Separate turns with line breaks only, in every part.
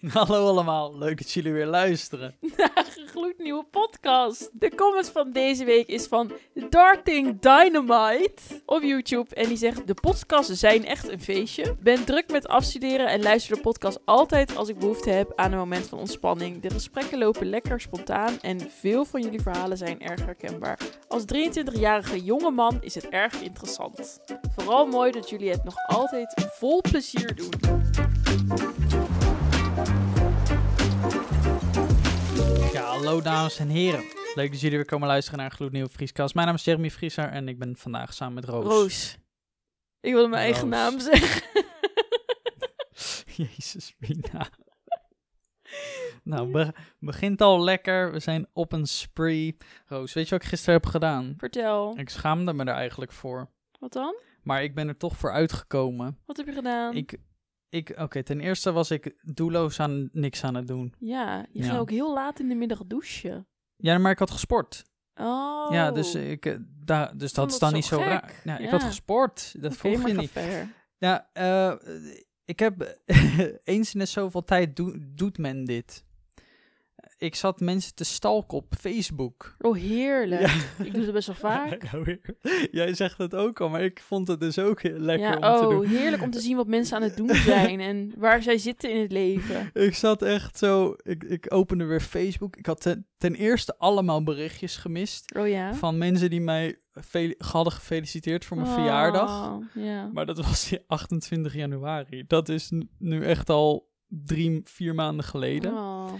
Hallo allemaal, leuk dat jullie weer luisteren.
naar een gloednieuwe podcast. De comment van deze week is van Darting Dynamite op YouTube. En die zegt, de podcasts zijn echt een feestje. Ben druk met afstuderen en luister de podcast altijd als ik behoefte heb aan een moment van ontspanning. De gesprekken lopen lekker spontaan en veel van jullie verhalen zijn erg herkenbaar. Als 23-jarige jonge man is het erg interessant. Vooral mooi dat jullie het nog altijd vol plezier doen.
Ja, hallo dames en heren. Leuk dat jullie weer komen luisteren naar een gloednieuwe Vrieskast. Mijn naam is Jeremy Vrieser en ik ben vandaag samen met Roos.
Roos. Ik wilde mijn eigen
Roos.
naam zeggen.
Jezus, Mina. nou, be- begint al lekker. We zijn op een spree. Roos, weet je wat ik gisteren heb gedaan?
Vertel.
Ik schaamde me er eigenlijk voor.
Wat dan?
Maar ik ben er toch voor uitgekomen.
Wat heb je gedaan?
Ik, ik oké, ten eerste was ik doelloos aan niks aan het doen.
Ja, je
Ja.
ging ook heel laat in de middag douchen.
Ja, maar ik had gesport.
Oh.
Ja, dus, ik, eh, da, dus dat
vond
is
dat
dan niet
zo
zo
gek.
raar. Ja, Ik
Ja.
had gesport, dat
Oké,
vroeg
maar
je
ga
niet.
verder.
Ja, eh, ik heb eens in de zoveel tijd doe- doet men dit. Ik zat mensen te stalken op Facebook.
Oh, heerlijk. Ik doe het best wel vaak.
Jij zegt het ook al, maar ik vond het dus ook heel lekker
ja,
om te
oh,
doen.
heerlijk om te zien wat mensen aan het doen zijn en waar zij zitten in het leven.
Ik zat echt zo, ik, ik opende weer Facebook. Ik had ten, ten eerste allemaal berichtjes gemist
Oh ja.
van mensen die mij fel- hadden gefeliciteerd voor mijn
Oh,
verjaardag.
Ja.
Maar dat was die 28 januari. Dat is n- nu echt al drie, vier maanden geleden.
Oh.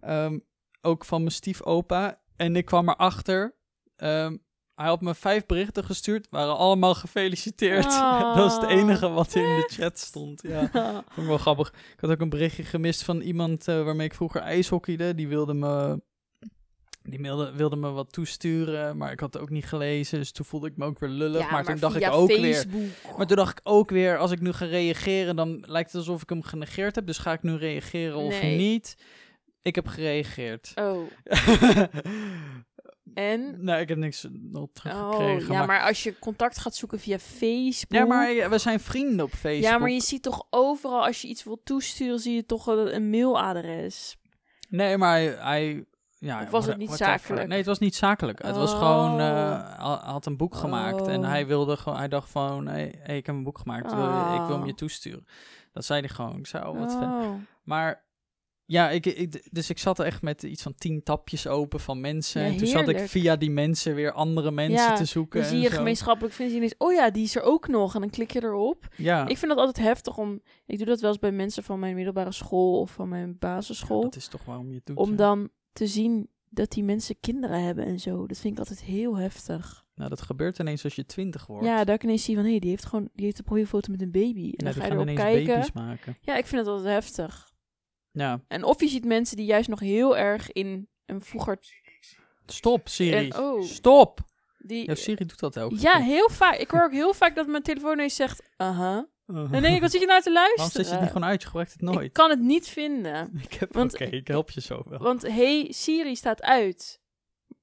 Ehm, ook van mijn stiefopa. En ik kwam erachter. ehm hij had me vijf berichten gestuurd. Waren allemaal gefeliciteerd.
Oh,
dat is het enige wat in de chat stond. Ja.
Oh.
Vond ik wel grappig. Ik had ook een berichtje gemist van iemand eh, waarmee ik vroeger ijshockeyde. Die wilde me... Die wilde, wilde me wat toesturen, maar ik had het ook niet gelezen. Dus toen voelde ik me ook weer lullig.
Ja,
maar toen dacht ik
via
ook weer...
Facebook.
Maar toen dacht ik ook weer, als ik nu ga reageren, dan lijkt het alsof ik hem genegeerd heb. Dus ga ik nu reageren of
Nee.
niet? Ik heb gereageerd.
Oh, en?
nee, ik heb niks nog
Oh,
teruggekregen.
ja, maar als je contact gaat zoeken via Facebook...
Ja, maar ja, we zijn vrienden op Facebook.
Ja, maar je ziet toch overal, als je iets wilt toesturen, zie je toch een, een mailadres.
Nee, maar hij... hij- ja,
Of was het
whate-
niet
whatever.
zakelijk?
Nee, het was niet zakelijk. Het was
Oh.
gewoon... eh, hij had een boek gemaakt en
Oh.
hij wilde gewoon... Hij dacht van, hey, hey, ik heb een boek gemaakt. wil je- Ik wil hem je toesturen. Dat zei hij gewoon. Ik zei, oh, wat vet.
Oh.
Maar ja, ik, ik, dus ik zat er echt met iets van tien tapjes open van mensen.
Ja,
en toen zat ik
heerlijk.
via die mensen weer andere mensen
Ja,
te zoeken.
Dan
en
zie je
zo.
gemeenschappelijk vinden en ineens, oh ja, die is er ook nog. En dan klik je erop.
Ja,
Ik vind dat altijd heftig om, ik doe dat wel eens bij mensen van mijn middelbare school of van mijn basisschool.
dat is toch waarom je het doet.
om
ja.
dan te zien dat die mensen kinderen hebben en zo. Dat vind ik altijd heel heftig.
Nou, dat gebeurt ineens als je twintig wordt.
Ja, dat ik ineens zie van, hé, hey, die heeft gewoon, die heeft een profielfoto met een baby. En
Ja,
dan
die
ga je
gaan
erop
ineens
kijken.
baby's maken.
Ja, ik vind dat altijd heftig.
Ja,
En of je ziet mensen die juist nog heel erg in een vroeger...
stop Siri.
En- oh.
Stop!
Die,
Ja, Siri doet dat ook.
ja, heel vaak. Ik hoor ook heel vaak dat mijn telefoon ineens zegt, aha. En dan denk ik, wat zit je nou te luisteren?
Waarom Uh-huh. zet je het niet gewoon uit? Je gebruikt het
Ik
nooit.
kan het niet vinden.
Ik, heb...
want-
Oké, ik help je zo wel.
Want hey Siri staat uit.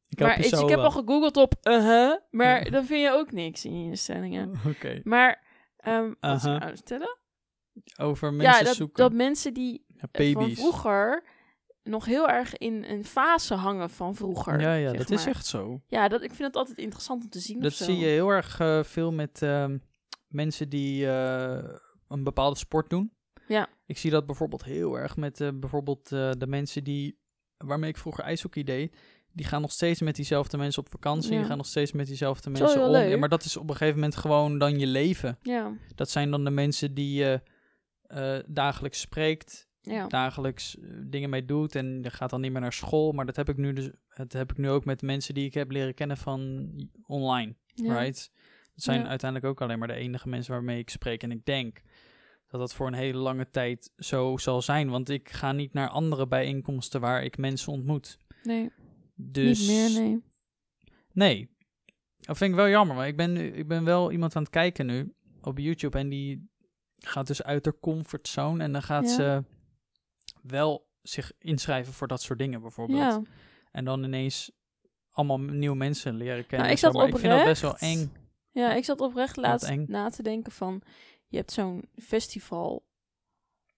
Ik help
maar
je
ik,
zo
ik heb
wel.
al gegoogeld op uh-huh, maar
Ja.
dan vind je ook niks in je instellingen.
Oké,
Maar, ehm wat
Uh-huh.
zou ik nou vertellen?
over mensen
Ja, dat,
zoeken.
dat mensen die
Ja, baby's.
eh, van vroeger nog heel erg in een fase hangen van vroeger.
ja, ja,
zeg
dat is
maar.
echt zo.
Ja, dat, ik vind het altijd interessant om te zien.
Dat
of zo.
zie je heel erg eh, veel met ehm, mensen die eh, een bepaalde sport doen.
Ja.
Ik zie dat bijvoorbeeld heel erg met eh, bijvoorbeeld eh, de mensen die, waarmee ik vroeger ijshockey deed, die gaan nog steeds met diezelfde mensen op vakantie,
Ja.
die gaan nog steeds met diezelfde
is
mensen
wel
om.
heel
Ja,
leuk.
maar dat is op een gegeven moment gewoon dan je leven.
Ja,
Dat zijn dan de mensen die je eh, dagelijks spreekt,
ja.
dagelijks eh, dingen mee doet en je gaat dan niet meer naar school. Maar dat heb ik nu dus, dat heb ik nu ook met mensen die ik heb leren kennen van online
ja.
right? Dat zijn
Ja.
uiteindelijk ook alleen maar de enige mensen waarmee ik spreek. En ik denk dat dat voor een hele lange tijd zo zal zijn. Want ik ga niet naar andere bijeenkomsten waar ik mensen ontmoet.
Nee,
Dus
niet meer, nee.
nee. Dat vind ik wel jammer. Maar ik ben, nu- ik ben wel iemand aan het kijken nu op YouTube. En die gaat dus uit haar comfortzone. En dan gaat
Ja.
ze wel zich inschrijven voor dat soort dingen bijvoorbeeld.
Ja.
En dan ineens allemaal nieuwe mensen leren kennen.
Nou,
en
ik
zo.
zat
Maar ik vind dat best wel
oprecht-
eng.
Ja, ik zat oprecht laatst
eng.
na te denken van... Je hebt zo'n festival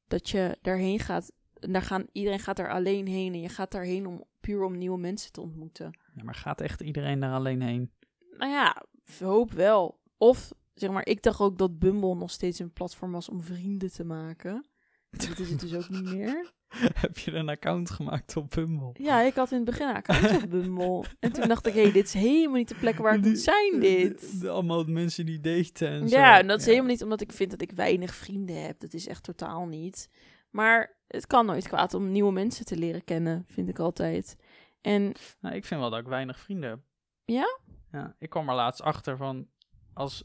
dat je daarheen gaat En daar gaan, iedereen gaat er alleen heen en je gaat daarheen om puur om nieuwe mensen te ontmoeten.
Ja, maar gaat echt iedereen daar alleen heen?
Nou ja, hoop wel. Of zeg maar, ik dacht ook dat Bumble nog steeds een platform was om vrienden te maken. Dat is het dus ook niet meer.
Heb je een account gemaakt op Bumble?
Ja, ik had in het begin een account op Bumble. En toen dacht ik, hé, dit is helemaal niet de plek waar het
Die-
moet zijn, dit.
De- de- allemaal mensen die daten en zo.
Ja, en dat is helemaal niet omdat ik vind dat ik weinig vrienden heb. Dat is echt totaal niet. Maar het kan nooit kwaad om nieuwe mensen te leren kennen, vind ik altijd. En
Nou, ik vind wel dat ik weinig vrienden heb.
Ja?
Ja, ik kwam er laatst achter van... Als,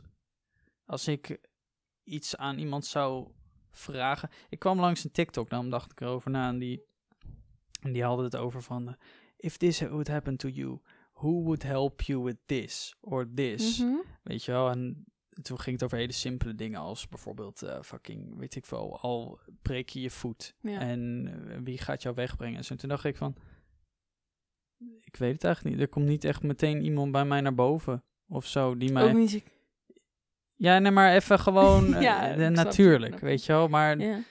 als ik iets aan iemand zou vragen... Ik kwam langs een TikTok, daarom dacht ik erover na. En die, en die hadden het over van... eh, If this would happen to you, who would help you with this or this?
Mhm.
Weet je wel, en toen ging het over hele simpele dingen als bijvoorbeeld eh, fucking, weet ik veel, al breek je je voet
Ja.
en eh, wie gaat jou wegbrengen? En zo. toen dacht ik van, ik weet het eigenlijk niet. Er komt niet echt meteen iemand bij mij naar boven of zo die mij...
ook niet. zo-
Ja, nee, maar even gewoon eh,
Ja,
eh,
ik snap je.
natuurlijk, weet je wel. Maar
Ja.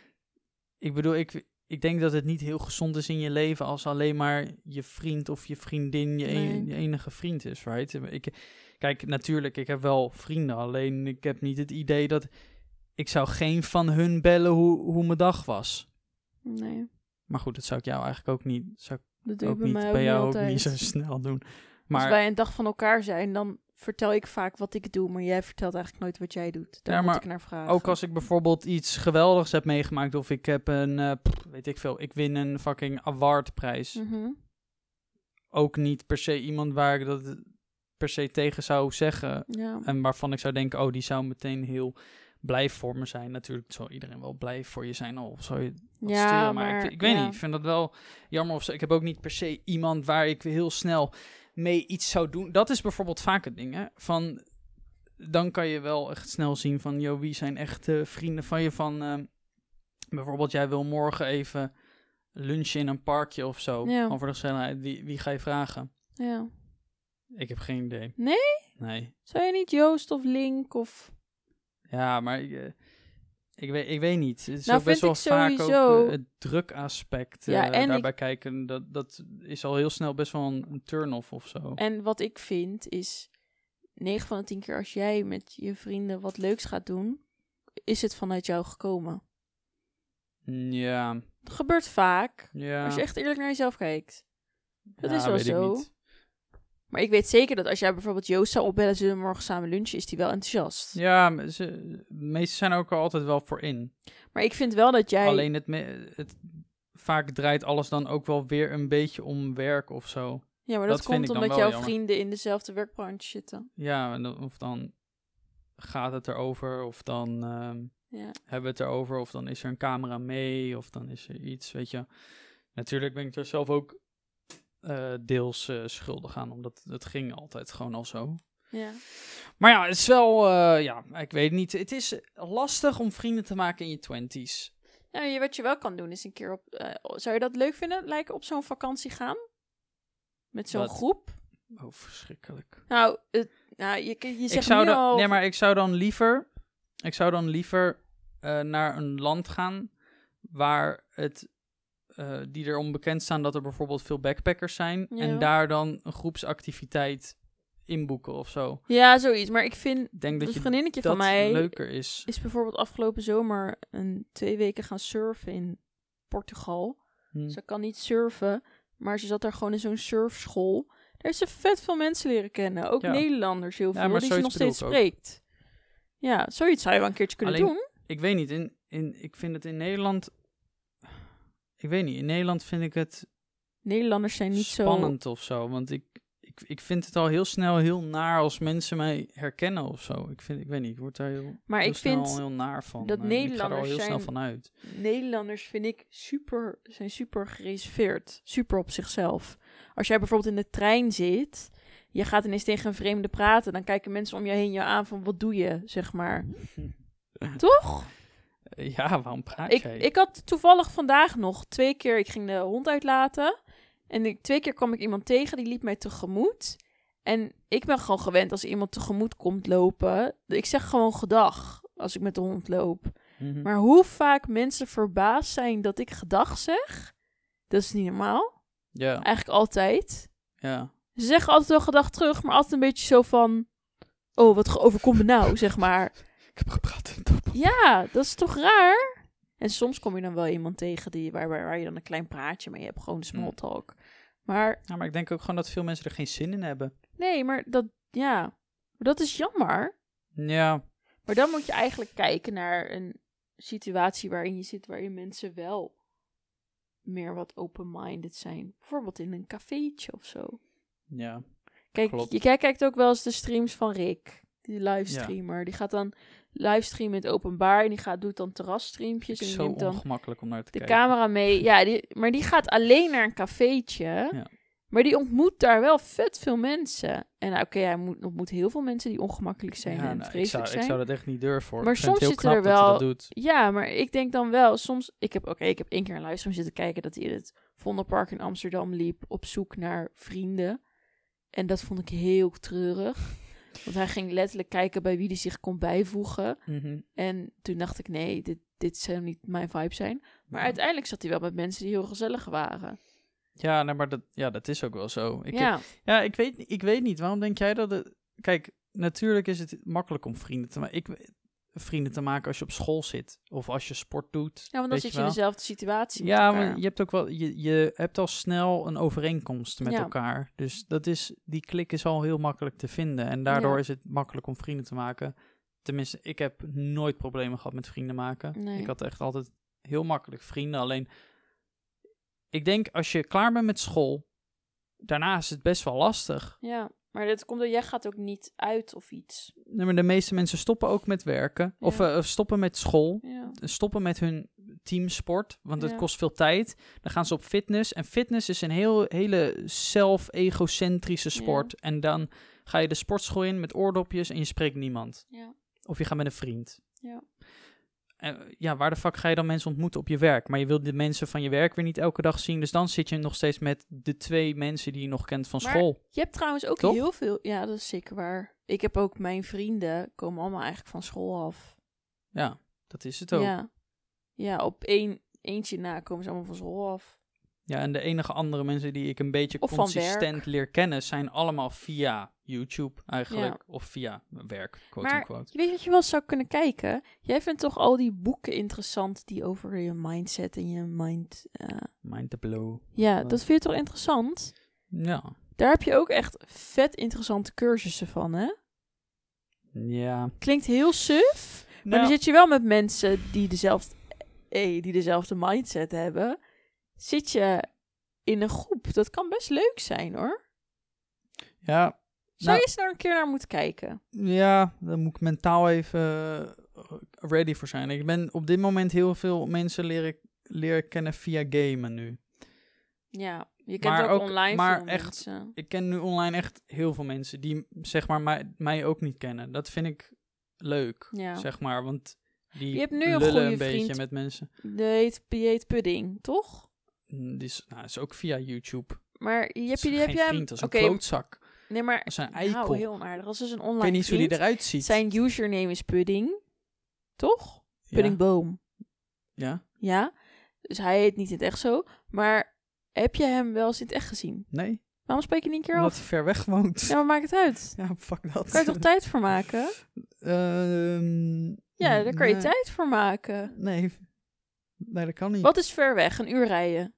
ik bedoel, ik, ik denk dat het niet heel gezond is in je leven als alleen maar je vriend of je vriendin je, en-
Nee.
je enige vriend is, right? Ik, kijk, natuurlijk, ik heb wel vrienden, alleen ik heb niet het idee dat ik zou geen van hun bellen hoe, hoe mijn dag was.
Nee,
Maar goed, dat zou ik jou eigenlijk ook niet, zou ik
dat doe ik
ook
bij
niet
mij ook
bij jou
niet
ook niet
altijd.
zo snel doen.
Als
Maar
wij een dag van elkaar zijn, dan vertel ik vaak wat ik doe, maar jij vertelt eigenlijk nooit wat jij doet. Daar
Ja,
moet
maar
ik naar vragen.
Ook als ik bijvoorbeeld iets geweldigs heb meegemaakt of ik heb een, eh, pff, weet ik veel, ik win een fucking awardprijs.
Mhm.
Ook niet per se iemand waar ik dat per se tegen zou zeggen
Ja.
en waarvan ik zou denken, oh, die zou meteen heel blij voor me zijn. Natuurlijk zal iedereen wel blij voor je zijn al, of zou je dat
ja,
sturen, maar, ik, ik weet
ja.
niet, ik vind dat wel jammer of zo. Ik heb ook niet per se iemand waar ik heel snel mee iets zou doen. Dat is bijvoorbeeld vaak het ding, hè, van dan kan je wel echt snel zien van, joh, wie zijn echt eh, vrienden van je van, eh, bijvoorbeeld jij wil morgen even lunchen in een parkje of zo,
Ja.
over de snelheid, wie, wie ga je vragen?
Ja.
Ik heb geen idee.
Nee?
Nee.
Zou je niet Joost of Link of...
Ja, maar ik, eh, ik, weet, ik weet niet. Het is
Nou,
ook best wel
vind ik
vaak ook
sowieso-
eh, het drukaspect eh
Ja, en ik-
daarbij kijken. Dat, dat is al heel snel best wel een, een turn-off of zo.
En wat ik vind is, 9 van de 10 keer als jij met je vrienden wat leuks gaat doen, is het vanuit jou gekomen.
Ja,
Dat gebeurt vaak,
ja.
als je echt eerlijk naar jezelf kijkt. dat is wel
weet ik
zo.
niet.
Maar ik weet zeker dat als jij bijvoorbeeld Joost zou opbellen, zullen we morgen samen lunchen, is die wel enthousiast.
Ja, maar ze, de meesten zijn er ook altijd wel voor in.
Maar ik vind wel dat jij...
Alleen het, me- het, vaak draait alles dan ook wel weer een beetje om werk of zo.
Ja, maar dat,
Dat vind ik
komt
dan
omdat
wel
jouw
jammer.
vrienden in dezelfde werkbranche zitten.
Ja, en dan- of dan gaat het erover, of dan ehm,
Ja.
hebben we het erover, of dan is er een camera mee, of dan is er iets, weet je. Natuurlijk ben ik er zelf ook eh, deels eh, schuldig aan, omdat het ging altijd gewoon al zo.
ja.
Maar ja, het is wel, eh, ja, ik weet niet. Het is lastig om vrienden te maken in je twenties.
Nou, je- wat je wel kan doen is een keer op... eh, zou je dat leuk vinden? Lijken op zo'n vakantie gaan? Met zo'n
Wat?
groep?
Oh, verschrikkelijk.
Nou, het- nou je, je zegt oh,
Ik zou
nu
dan,
al...
nee, maar ik zou dan liever, ik zou dan liever eh, naar een land gaan waar het, eh, die erom bekend staan dat er bijvoorbeeld veel backpackers zijn.
Ja.
En daar dan een groepsactiviteit inboeken of zo.
Ja, zoiets. Maar ik vind...
Ik denk dat
een
je
vriendinnetje
dat
van mij
leuker is.
is bijvoorbeeld afgelopen zomer een, twee weken gaan surfen in Portugal.
Hm.
Ze kan niet surfen, maar ze zat daar gewoon in zo'n surfschool. Daar is ze vet veel mensen leren kennen. Ook
Ja.
Nederlanders heel
Ja,
veel,
maar
die ze nog
zoiets
steeds
bedoel ik
spreekt. Ja, zoiets zou je wel een keertje kunnen
Alleen-
doen.
Ik weet niet, in, in, ik vind het in Nederland, ik weet niet, in Nederland vind ik het
Nederlanders zijn niet
spannend of zo. Want ik, ik, ik vind het al heel snel heel naar als mensen mij herkennen of zo. Ik, vind, ik weet niet, ik word daar heel,
Maar
heel
ik
snel
vind
heel naar van.
dat
Eh, ik ga er al
Nederlanders
heel snel
zijn-
van uit.
zo... Nederlanders vind ik super, zijn super gereserveerd. Super op zichzelf. Als jij bijvoorbeeld in de trein zit, je gaat ineens tegen een vreemde praten, dan kijken mensen om je heen je aan van wat doe je, zeg maar. Toch?
Eh, Ja, waarom praat
ik,
jij?
ik had toevallig vandaag nog twee keer, ik ging de hond uitlaten. En ik, twee keer kwam ik iemand tegen, die liep mij tegemoet. En ik ben gewoon gewend als iemand tegemoet komt lopen. Ik zeg gewoon gedag als ik met de hond loop.
Mhm.
Maar hoe vaak mensen verbaasd zijn dat ik gedag zeg, dat is niet normaal.
ja,
Eigenlijk altijd.
ja.
Ze zeggen altijd wel gedag terug, maar altijd een beetje zo van... Oh, wat ge- overkomt me nou, zeg maar.
Ik heb gepraat.
Ja, dat is toch raar? En soms kom je dan wel iemand tegen die, waar, waar, waar je dan een klein praatje mee hebt. Gewoon small
Mm.
talk. Maar
Ja, maar ik denk ook gewoon dat veel mensen er geen zin in hebben.
nee, maar dat... Ja, maar dat is jammer.
Ja,
Maar dan moet je eigenlijk kijken naar een situatie waarin je zit, waarin mensen wel meer wat open-minded zijn. Bijvoorbeeld in een cafeetje of zo.
ja.
Kijk,
Klopt.
je kijkt, kijkt ook wel eens de streams van Rick, die livestreamer. Die gaat dan livestreamen in het openbaar en die gaat, doet dan terrasstreampjes en die
Zo
neemt dan
ongemakkelijk om naar te
de
kijken.
camera mee. Ja, die, maar die gaat alleen naar een cafeetje. Maar die ontmoet daar wel vet veel mensen. En nou, oké, hij moet, ontmoet heel veel mensen die ongemakkelijk zijn
Ja,
en
nou, ik,
vreselijk
zou,
zijn.
ik zou dat echt niet durven hoor.
Maar
ik vind het
soms
heel
zitten
knap
er
dat je
wel-
dat doet.
Ja, maar ik denk dan wel soms. Ik heb oké, ik heb één keer een livestream zitten kijken dat hij in het Vondelpark in Amsterdam liep op zoek naar vrienden. En dat vond ik heel treurig. Want hij ging letterlijk kijken bij wie hij zich kon bijvoegen.
Mhm.
En toen dacht ik, nee, dit, dit zou niet mijn vibe zijn. Maar uiteindelijk zat hij wel met mensen die heel gezellig waren.
Ja, nee, maar dat, ja, dat is ook wel zo. Ik
ja,
Ja, ik weet, ik weet niet. Waarom denk jij dat het... Kijk, natuurlijk is het makkelijk om vrienden te maken. Ik, vrienden te maken als je op school zit. Of als je sport doet.
ja want dan
weet
zit je in
wel.
dezelfde situatie. met
Ja,
elkaar.
maar je hebt ook wel... Je, je hebt al snel een overeenkomst met
Ja.
elkaar. Dus dat is, die klik is al heel makkelijk te vinden. En daardoor
Ja.
is het makkelijk om vrienden te maken. Tenminste, ik heb nooit problemen gehad met vrienden maken.
Nee.
Ik had echt altijd heel makkelijk vrienden. Alleen, ik denk als je klaar bent met school... Daarna is het best wel lastig.
ja, maar dat komt door jij gaat ook niet uit of iets.
Nee, maar de meeste mensen stoppen ook met werken. Of
Ja.
eh, of stoppen met school.
Ja.
Stoppen met hun teamsport. Want het
Ja.
kost veel tijd. Dan gaan ze op fitness. En fitness is een heel, hele zelf-egocentrische sport. En dan ga je de sportschool in met oordopjes en je spreekt niemand.
Ja.
Of je gaat met een vriend.
Ja.
En, eh, ja, waar de fuck ga je dan mensen ontmoeten op je werk? Maar je wilt de mensen van je werk weer niet elke dag zien. Dus dan zit je nog steeds met de twee mensen die je nog kent van
Maar-
school.
Je hebt trouwens ook
Toch?
heel veel. Ja, dat is zeker waar. Ik heb ook mijn vrienden komen allemaal eigenlijk van school af.
Ja, dat is het ook.
Ja. Ja, op één eentje na komen ze allemaal van school af.
Ja, en de enige andere mensen die ik een beetje
Of van werk.
consistent leer kennen, zijn allemaal via YouTube eigenlijk.
Ja.
Of via werk, quote
Maar-
unquote.
Je weet wat je wel zou kunnen kijken? Jij vindt toch al die boeken interessant die over je mindset en je mind... eh,
Mind the blow.
Ja,
Wat?
dat vind je toch interessant?
Ja.
Daar heb je ook echt vet interessante cursussen van, hè?
Ja. Nou
Klinkt heel suf, maar dan zit je wel met mensen die dezelfde, eh, die dezelfde mindset hebben. Zit je in een groep. Dat kan best leuk zijn, hoor.
ja,
Zou
Nou-
je eens daar een keer naar moeten kijken?
ja, daar moet ik mentaal even eh, ready voor zijn. Ik ben op dit moment heel veel mensen leren, leren kennen via gamen nu.
Ja, je
kent
kent
Maar
ook,
ook ook-
online
online maar
veel
veel echt-
mensen.
Ik ken nu online echt heel veel mensen die zeg maar mij, mij ook niet kennen. Dat vind ik leuk,
Ja.
zeg maar. Want die
Je hebt nu een
lullen
goede
een beetje
vriend.
met mensen.
De heet, die heet Pudding, toch?
Mm, Die is, nou, is ook via YouTube.
Maar je heb
Is
je, die heb
geen
je hem...
vriend, als een
Oké,
klootzak.
nee, maar...
Als een eikel.
Nou, heel onaardig. Als is een
ik weet
online
niet hoe
vriend.
die eruit ziet.
Zijn username is Pudding, toch?
ja.
Puddingboom,
ja?
ja. Dus hij heet niet in het echt zo. Maar heb je hem wel eens in het echt gezien?
Nee?
Waarom spreek je niet een keer
Omdat
af?
hij ver weg woont.
Ja, maar maakt het uit.
Ja, fuck dat.
Daar kan je toch tijd voor maken?
Ehm,
Ja, daar kan je
nee. Hm.
tijd voor maken.
Nee. Nee, dat kan niet.
Wat is ver weg? Een uur rijden?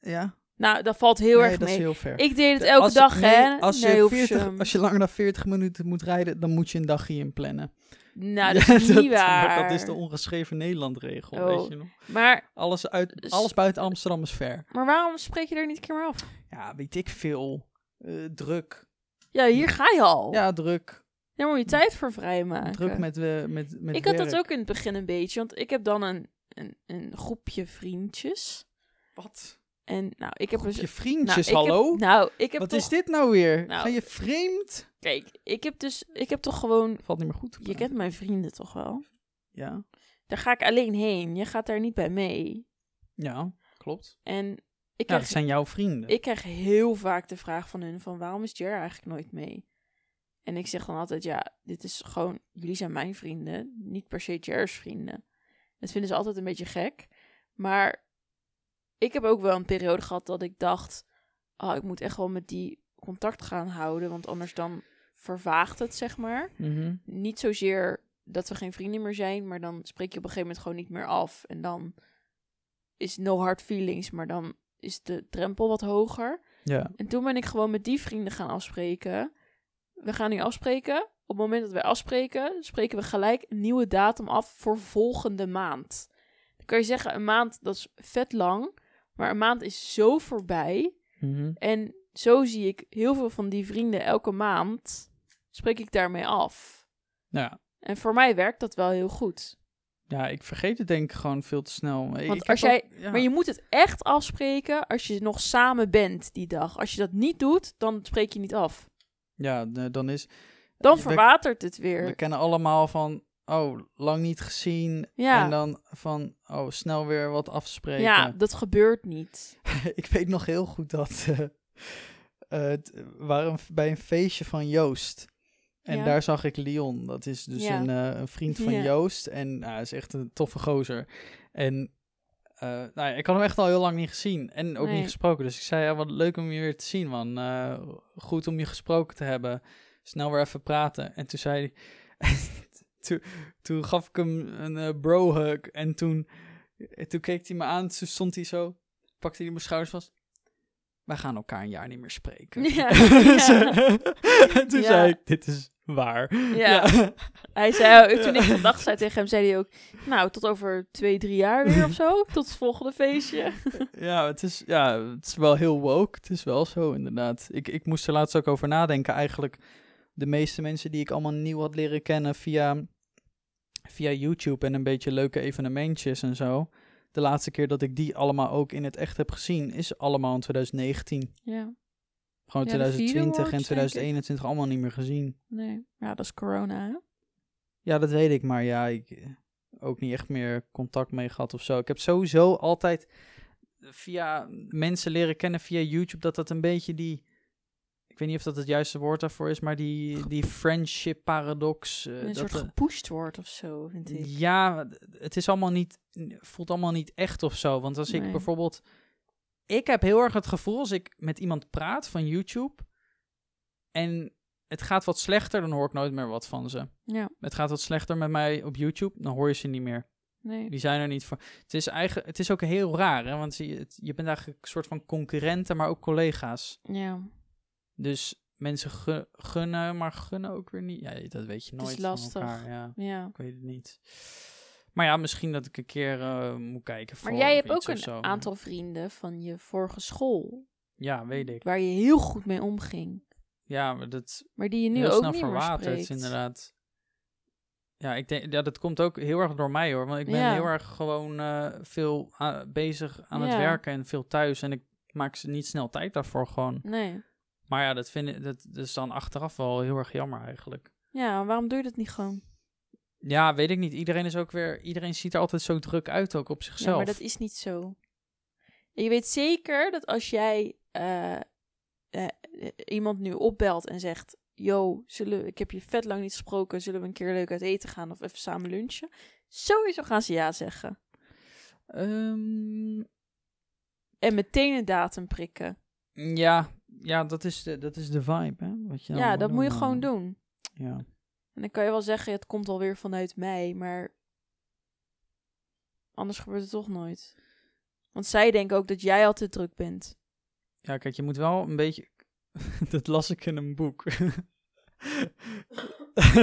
Ja.
Nou, dat valt heel
nee,
erg
dat
mee.
is heel ver.
Ik deed het elke
Als-
dag,
nee,
hè?
Als je,
Nee, hoef
40,
hem.
als je langer dan 40 minuten moet rijden, dan moet je een dagje in plannen.
Nou, dat
Ja,
is niet
maar
waar.
Dat is de ongeschreven Nederlandregel,
Oh. Dus-
weet je nog.
maar,
Alles, uit,
S-
alles buiten Amsterdam is ver.
maar waarom spreek je er niet een keer meer af?
Ja, weet ik veel. Eh, druk.
Ja, hier ga je al.
Ja, druk.
Daar moet je tijd voor vrijmaken.
Druk met, eh, met, met
ik had dat
werk.
ook in het begin een beetje, want ik heb dan een, een, een groepje vriendjes.
Wat?
En nou, ik heb
Op je
dus...
vriendjes,
nou, ik heb-
hallo?
nou, ik heb
Wat
toch...
is dit nou weer?
Nou,
Ga je vreemd?
Kijk, ik heb dus... Ik heb toch gewoon...
Valt niet meer goed. te
Je
praten.
kent mijn vrienden toch wel?
Ja.
Daar ga ik alleen heen. Je gaat daar niet bij mee.
ja, klopt.
En ik
Ja,
krijg
Nou, dat zijn jouw vrienden.
Ik kjer heel vaak de vraag van hun van waarom is Jer eigenlijk nooit mee? En ik zeg dan altijd ja, dit is gewoon, jullie zijn mijn vrienden, niet per se Jer's vrienden. Dat vinden ze altijd een beetje gek. Maar ik heb ook wel een periode gehad dat ik dacht... Oh, ik moet echt wel met die contact gaan houden. Want anders dan vervaagt het, zeg maar.
Mhm.
Niet zozeer dat we geen vrienden meer zijn. Maar dan spreek je op een gegeven moment gewoon niet meer af. En dan is no hard feelings. Maar dan is de drempel wat hoger.
Ja.
En toen ben ik gewoon met die vrienden gaan afspreken. We gaan nu afspreken. Op het moment dat wij afspreken, spreken we gelijk een nieuwe datum af voor volgende maand. Dan kan je zeggen, een maand dat is vet lang. Maar een maand is zo voorbij.
Mhm.
En zo zie ik heel veel van die vrienden elke maand. Spreek ik daarmee af.
Nou ja.
En voor mij werkt dat wel heel goed.
ja, ik vergeet het denk ik gewoon veel te snel. Want
als jij- Maar je moet het echt afspreken als je nog samen bent die dag. Als je dat niet doet, dan spreek je niet af.
Ja, nee, dan is...
Dan
We-
verwatert het weer.
We kennen allemaal van, oh, lang niet gezien.
Ja.
En dan van, oh, snel weer wat afspreken.
Ja, dat gebeurt niet.
ik weet nog heel goed dat. eh, eh, het- we waren bij een feestje van Joost. En
Ja.
daar zag ik Leon. Dat is dus
Ja.
een, eh, een vriend van
Ja.
Joost. En nou, hij is echt een toffe gozer. En eh, nou ja, ik had hem echt al heel lang niet gezien. En ook
Nee.
niet gesproken. Dus ik zei, ja, wat leuk om je weer te zien, man. Eh, goed om je gesproken te hebben. Snel weer even praten. En toen zei hij... toen, toen gaf ik hem een eh, bro-hug. En toen, en toen keek hij me aan. Toen stond hij zo pakte hij mijn schouders vast. Wij gaan elkaar een jaar niet meer spreken.
Ja.
Dus,
Ja.
eh, en toen
Ja.
zei ik, dit is waar.
Ja. Hij zei, oh, toen ik dat dag zei tegen hem, zei hij ook... Nou, tot over twee, drie jaar weer of zo. Tot het volgende feestje.
ja, het is, ja, het is wel heel woke. Het is wel zo, inderdaad. Ik, ik moest er laatst ook over nadenken. Eigenlijk de meeste mensen die ik allemaal nieuw had leren kennen via, via YouTube en een beetje leuke evenementjes en zo. De laatste keer dat ik die allemaal ook in het echt heb gezien, is allemaal in 2019.
Ja,
Gewoon
Ja, de vierde
2020
wordt,
en
denk ik.
2021 allemaal niet meer gezien.
nee. Ja, dat is corona, hè?
Ja, dat weet ik, maar ja, ik eh, ook niet echt meer contact mee gehad of zo. Ik heb sowieso altijd eh, via mensen leren kennen via YouTube dat dat een beetje die ik weet niet of dat het juiste woord daarvoor is, maar die, die friendship paradox. eh,
Een
dat,
soort
eh,
gepusht wordt of zo, vind ik.
ja, het is allemaal niet, voelt allemaal niet echt of zo. Want als ik
Nee.
bijvoorbeeld, ik heb heel erg het gevoel als ik met iemand praat van YouTube en het gaat wat slechter, dan hoor ik nooit meer wat van ze
Ja,
het gaat wat slechter met mij op YouTube, dan hoor je ze niet meer.
nee.
Die zijn er niet voor. Het is, eigenlijk, het is ook heel raar, hè? want je, het- je bent eigenlijk een soort van concurrenten, maar ook collega's.
Ja,
Dus mensen gu- gunnen, maar gunnen ook weer niet. Ja, dat weet je
Het is
nooit.
lastig.
Van elkaar, ja.
ja.
Ik weet het niet. Maar ja, misschien dat ik een keer eh, moet kijken. Voor
Maar jij hebt ook
iets of
een
zo.
aantal vrienden van je vorige school.
Ja, weet ik.
Waar je heel goed mee omging.
Ja, maar dat,
Maar die je nu
heel
ook
snel
niet meer
verwaterd,
spreekt.
inderdaad. Ja, ik denk, ja, dat komt ook heel erg door mij hoor. Want ik ben
Ja.
heel erg gewoon eh, veel a- bezig aan het
Ja.
werken en veel thuis. En ik maak ze niet snel tijd daarvoor gewoon.
Nee.
Maar ja, dat vind ik, dat, dat is dan achteraf wel heel erg jammer eigenlijk.
Ja, maar waarom doe je dat niet gewoon?
Ja, weet ik niet. Iedereen is ook weer, iedereen ziet er altijd zo druk uit ook op zichzelf.
Ja, maar dat is niet zo. En je weet zeker dat als jij eh, eh, eh, iemand nu opbelt en zegt: Yo, zullen, we- ik heb je vet lang niet gesproken, zullen we een keer leuk uit eten gaan of even samen lunchen? Sowieso gaan ze ja zeggen.
Ehm,
En meteen een datum prikken.
ja, ja dat, is de, dat is de vibe hè. Wat je dan
ja,
moet
dat moet je
eh,
gewoon doen.
Ja.
En dan kan je wel zeggen: Het komt alweer vanuit mij, maar anders gebeurt het toch nooit. Want zij denken ook dat jij altijd druk bent.
Ja, kijk, je moet wel een beetje. dat las ik in een boek.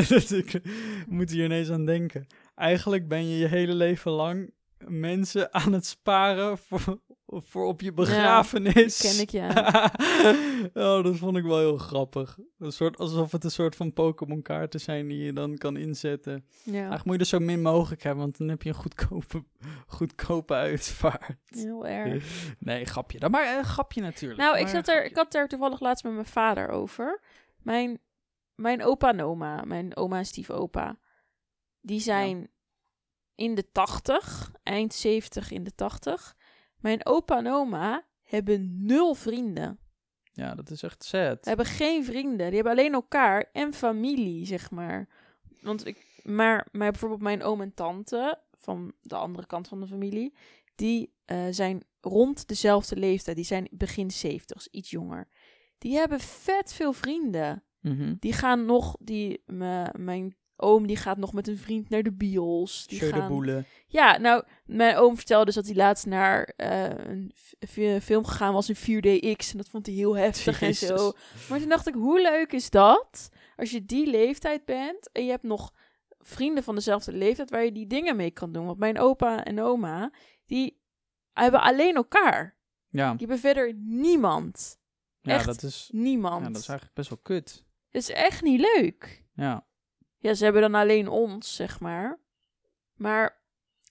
dus ik moet hier ineens aan denken. Eigenlijk ben je je hele leven lang mensen aan het sparen voor, voor op je begrafenis.
Ken ik ja.
oh, dat vond ik wel heel grappig. Een soort, alsof het een soort van Pokémon kaarten zijn die je dan kan inzetten.
ja.
Eigenlijk moet je er zo min mogelijk hebben, want dan heb je een goedkope, goedkope uitvaart.
Heel erg.
Nee, grapje. Dan maar een grapje natuurlijk.
Nou, ik,
Maar
zat er, ik had daar toevallig laatst met mijn vader over. Mijn, mijn opa en oma, mijn oma en stiefopa, die zijn in de tachtig, eind zeventig in de tachtig. Mijn opa en oma hebben nul vrienden.
Ja, dat is echt sad.
Hebben geen vrienden. Die hebben alleen elkaar en familie, zeg maar. Want ik, maar, maar bijvoorbeeld mijn oom en tante van de andere kant van de familie, die eh, zijn rond dezelfde leeftijd. Die zijn begin zeventigs, iets jonger. Die hebben vet veel vrienden.
Mhm.
Die gaan nog, die, me- mijn oom die gaat nog met een vriend naar de bios. Die
Schöne
gaan,
boelen.
ja, nou, mijn oom vertelde dus dat hij laatst naar eh, een fi- film gegaan was in 4DX. En dat vond hij heel heftig en zo.
Jezus.
Maar toen dacht ik, hoe leuk is dat? Als je die leeftijd bent en je hebt nog vrienden van dezelfde leeftijd waar je die dingen mee kan doen. Want mijn opa en oma, die hebben alleen elkaar.
Ja,
Die hebben verder niemand.
ja
echt
dat, is, ja,
Niemand.
dat is eigenlijk best wel kut.
Dat is echt niet leuk.
Ja.
Ja, ze hebben dan alleen ons, zeg maar. Maar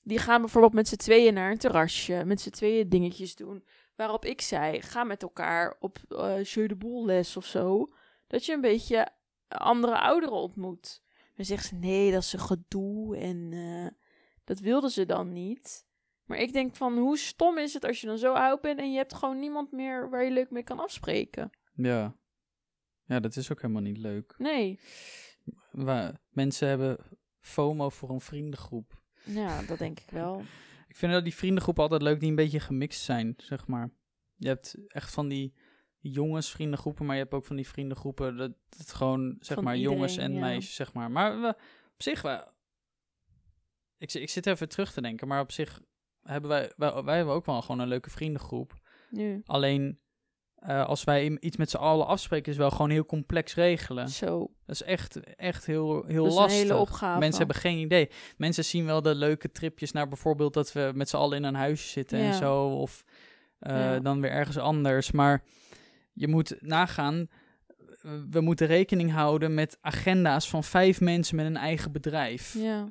die gaan bijvoorbeeld met z'n tweeën naar een terrasje, met z'n tweeën dingetjes doen. Waarop ik zei, ga met elkaar op eh Jeu de Boel les of zo. Dat je een beetje andere ouderen ontmoet. Dan zegt ze, nee, dat is een gedoe en eh, dat wilden ze dan niet. Maar ik denk van, hoe stom is het als je dan zo oud bent en je hebt gewoon niemand meer waar je leuk mee kan afspreken.
ja. Ja, dat is ook helemaal niet leuk.
Nee,
Wa- mensen hebben FOMO voor een vriendengroep.
ja, dat denk ik wel.
Ik vind dat die vriendengroepen altijd leuk die een beetje gemixt zijn, zeg maar. Je hebt echt van die jongens vriendengroepen, maar je hebt ook van die vriendengroepen dat het gewoon, zeg
Van
maar, jongens en
iedereen, ja.
meisjes, zeg maar. Maar we, op zich, we, ik, zi- ik zit even terug te denken, maar op zich hebben wij, wij, wij hebben ook wel gewoon een leuke vriendengroep.
Nu,
Alleen, eh, als wij im- iets met z'n allen afspreken, is wel gewoon heel complex regelen.
zo.
Dat is echt, echt heel, heel
Dat is een
lastig.
hele opgave.
Mensen hebben geen idee. Mensen zien wel de leuke tripjes naar bijvoorbeeld dat we met z'n allen in een huisje zitten
Ja.
en zo. Of eh,
Ja.
dan weer ergens anders. Maar je moet nagaan. eh, We moeten rekening houden met agenda's van vijf mensen met een eigen bedrijf. Ja,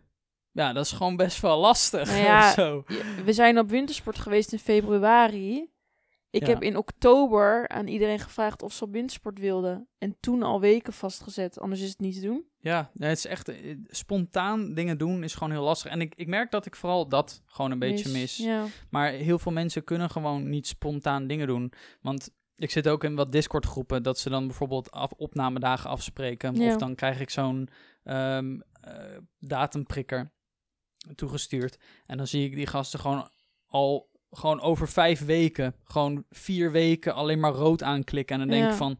Ja.
dat is gewoon best wel lastig.
Nou ja,
of zo.
Je- We zijn op wintersport geweest in februari. Ik
Ja.
heb in oktober aan iedereen gevraagd of ze op wintersport wilden. En toen al weken vastgezet, anders is het niet te doen.
Ja, nee, het is echt eh, spontaan dingen doen is gewoon heel lastig. En ik, ik merk dat ik vooral dat gewoon een beetje mis.
Dus, Ja.
Maar heel veel mensen kunnen gewoon niet spontaan dingen doen. Want ik zit ook in wat Discord groepen dat ze dan bijvoorbeeld af, opnamedagen afspreken.
Ja.
Of dan krijg ik zo'n ehm, eh, datumprikker toegestuurd. En dan zie ik die gasten gewoon al gewoon over vijf weken, gewoon vier weken alleen maar rood aanklikken. En dan denk
Ja.
ik van.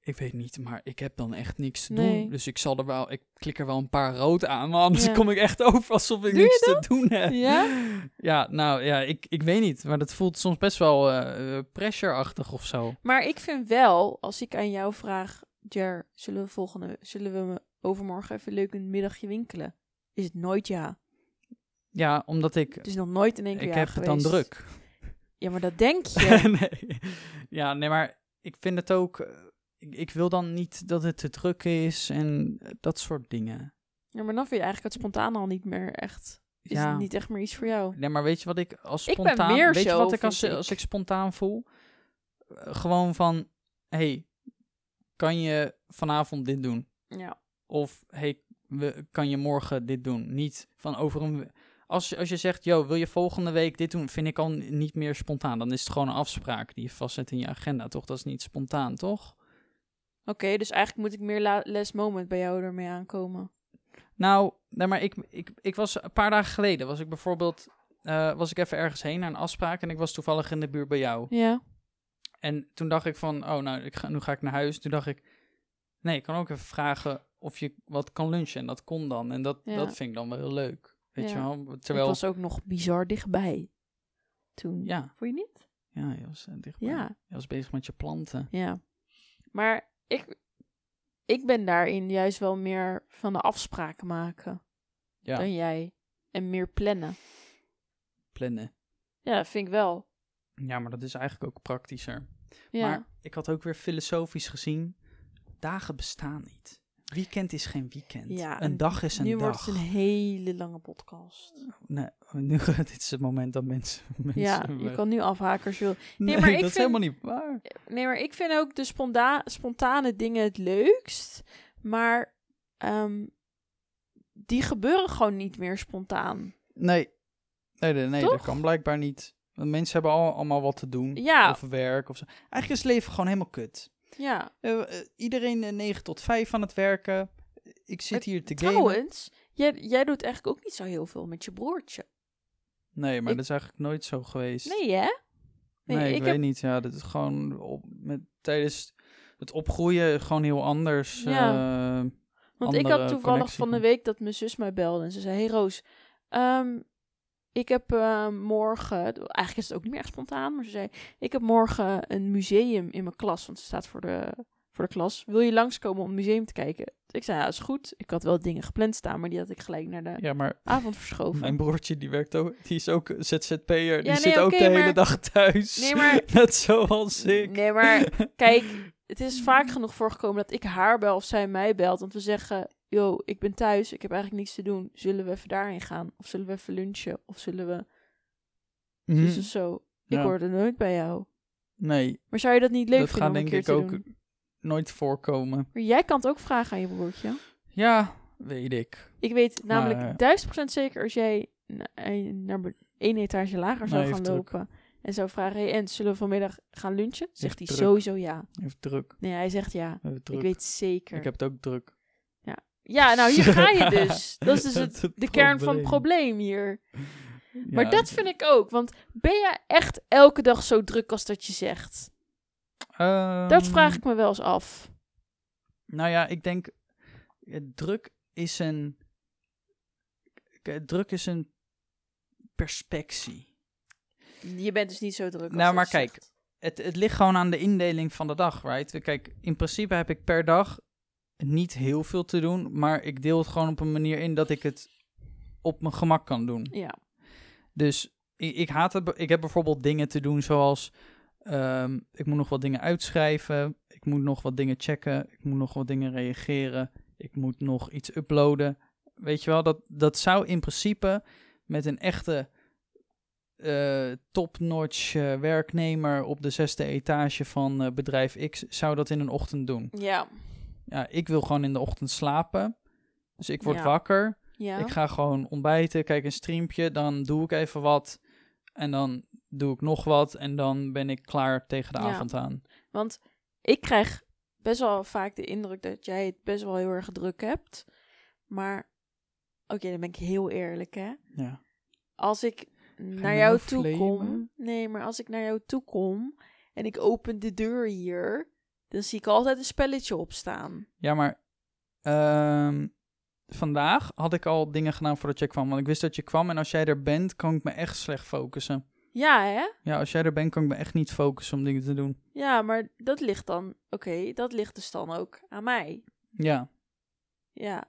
Ik weet niet, maar ik heb dan echt niks te
Nee.
doen. Dus ik zal er wel, ik klik er wel een paar rood aan. Maar anders
Ja.
kom ik echt over alsof ik
Doe je
niks te doen heb.
ja?
Ja, nou ja, ik, ik weet niet. Maar dat voelt soms best wel eh, eh, pressure-achtig of zo.
Maar ik vind wel, als ik aan jou vraag, Jer, zullen we volgende, zullen we me overmorgen even leuk een middagje winkelen? Is het nooit ja.
Ja, omdat ik...
Het is nog nooit in één
Ik
keer ja
heb het dan
geweest.
druk.
Ja, maar dat denk je.
nee. Ja, nee, maar ik vind het ook... eh, Ik, ik wil dan niet dat het te druk is en eh, dat soort dingen.
ja, maar dan vind je eigenlijk het spontaan al niet meer echt. Is
ja.
het niet echt meer iets voor jou?
Nee, maar weet je wat ik als
Ik ben
spontaan...
meer
weet
zo,
je wat ik
vind
als,
ik.
als ik spontaan voel? Eh, gewoon van... hey, kan je vanavond dit doen?
Ja.
Of hey, we, kan je morgen dit doen? Niet van over een. we- Als, je- als je zegt, yo, wil je volgende week dit doen? Vind ik al n- niet meer spontaan. Dan is het gewoon een afspraak die je vastzet in je agenda, toch? Dat is niet spontaan, toch?
Oké, dus eigenlijk moet ik meer la- last moment bij jou ermee aankomen.
Nou, nee, maar ik, ik, ik was een paar dagen geleden, was ik bijvoorbeeld. eh, was ik even ergens heen naar een afspraak en ik was toevallig in de buurt bij jou.
Ja.
En toen dacht ik van, oh, nou, ik ga, nu ga ik naar huis. Toen dacht ik, nee, ik kan ook even vragen of je wat kan lunchen. En dat kon dan. En dat,
Ja.
dat vind ik dan wel heel leuk. Weet
Ja.
je wel?
Terwijl...
Terwijl,
Ik was ook nog bizar dichtbij. Toen.
ja,
Vond je niet?
Ja, je was eh, dichtbij.
Ja.
Je was bezig met je planten.
Ja. Maar ik, ik ben daarin juist wel meer van de afspraken maken
Ja,
dan jij. En meer plannen.
plannen.
Ja, dat vind ik wel.
Ja, maar dat is eigenlijk ook praktischer.
Ja.
Maar ik had ook weer filosofisch gezien, dagen bestaan niet. Weekend is geen weekend.
Ja, en
een dag is een
nu wordt
dag.
het een hele lange podcast.
Nee, nu, dit is het moment dat mensen... mensen
ja, je kan nu afhaken als je wil.
Nee,
maar ik
dat is
vind-
helemaal niet waar.
Nee, maar ik vind ook de sponda- spontane dingen het leukst. Maar ehm, die gebeuren gewoon niet meer spontaan.
Nee, nee, nee, nee dat
Toch?
kan blijkbaar niet. Want mensen hebben al, allemaal wat te doen.
Ja.
Of werk of zo. Eigenlijk is het leven gewoon helemaal kut.
Ja.
Eh, eh, iedereen eh, 9 tot 5 aan het werken. Ik zit
Maar
hier te gamen.
Trouwens, Jij, jij doet eigenlijk ook niet zo heel veel met je broertje.
Nee, maar
Ik-
dat is eigenlijk nooit zo geweest.
Nee, hè?
Nee, ik,
heb-
weet niet. Ja, dat is gewoon op, met, tijdens het opgroeien gewoon heel anders.
Ja.
eh,
Want ik
andere
had toevallig
connectie.
van de week dat mijn zus mij belde en ze zei: Hey Roos, ehm, ik heb eh, morgen, eigenlijk is het ook niet meer echt spontaan, maar ze zei: Ik heb morgen een museum in mijn klas, want ze staat voor de, voor de klas. Wil je langskomen om het museum te kijken? Ik zei: Ja, is goed. Ik had wel dingen gepland staan, maar die had ik gelijk naar de
ja, maar
avond verschoven.
mijn broertje die werkt ook, die is ook ZZP'er. die
nee,
zit ook
oké,
de hele
maar-
dag thuis.
Nee, maar
Net zoals ik.
Nee, maar kijk, het is vaak genoeg voorgekomen dat ik haar bel of zij mij belt. Want we zeggen, yo, ik ben thuis, ik heb eigenlijk niks te doen. Zullen we even daarheen gaan? Of zullen we even lunchen? Of zullen we...
Mhm.
Dus of zo. Ik
Ja.
hoor er nooit bij jou.
Nee,
Maar zou je dat niet leuk
dat
vinden
gaat
om een
denk
keer
ik
te
ook
doen?
nooit voorkomen.
Maar jij kan het ook vragen aan je broertje.
Ja, weet ik.
Ik weet namelijk
Maar-
duizend procent zeker als jij na- eh, naar be- één etage lager zou
Nee,
gaan
heeft druk.
lopen... En zou vragen, hey, en zullen we vanmiddag gaan lunchen?
Heeft
Zegt hij
druk.
sowieso ja.
Even druk.
Nee, hij zegt ja.
Even druk.
Ik weet zeker.
Ik heb het ook druk.
Ja, nou hier ga je dus. Dat is dus
Dat
het,
is het
de kern van het
probleem.
probleem hier. maar
Ja,
dat vind ik ook, want ben jij echt elke dag zo druk als dat je zegt? Dat
ehm,
vraag ik me wel eens af.
Nou ja, ik denk eh, druk is een k- druk is een perspectie.
Je bent dus niet zo druk als
Nou,
dat
maar
je
kijk,
zegt.
Het, het ligt gewoon aan de indeling van de dag, right? Kijk, in principe heb ik per dag niet heel veel te doen, maar ik deel het gewoon op een manier in dat ik het op mijn gemak kan doen.
Ja,
Dus ik, ik haat het. be- Ik heb bijvoorbeeld dingen te doen zoals. ehm, ik moet nog wat dingen uitschrijven. Ik moet nog wat dingen checken. Ik moet nog wat dingen reageren. Ik moet nog iets uploaden. Weet je wel, dat, dat zou in principe met een echte eh, top-notch eh, werknemer op de zesde etage van eh, bedrijf X, zou dat in een ochtend doen.
ja,
Ja, ik wil gewoon in de ochtend slapen. Dus ik word
Ja.
wakker.
ja.
Ik ga gewoon ontbijten, kijk een streampje, dan doe ik even wat. En dan doe ik nog wat en dan ben ik klaar tegen de
Ja.
avond aan.
Want ik krijg best wel vaak de indruk dat jij het best wel heel erg druk hebt. Maar, oké, dan ben ik heel eerlijk, hè.
Ja.
als ik naar
nou
jou toe
flamen?
kom. Nee, maar als ik naar jou toe kom en ik open de deur hier, dan zie ik altijd een spelletje opstaan.
ja, maar ehm, vandaag had ik al dingen gedaan voordat jij kwam. Want ik wist dat je kwam en als jij er bent, kan ik me echt slecht focussen.
Ja, hè?
Ja, als jij er bent, kan ik me echt niet focussen om dingen te doen.
Ja, maar dat ligt dan. Oké, dat ligt dus dan ook aan mij.
Ja.
Ja.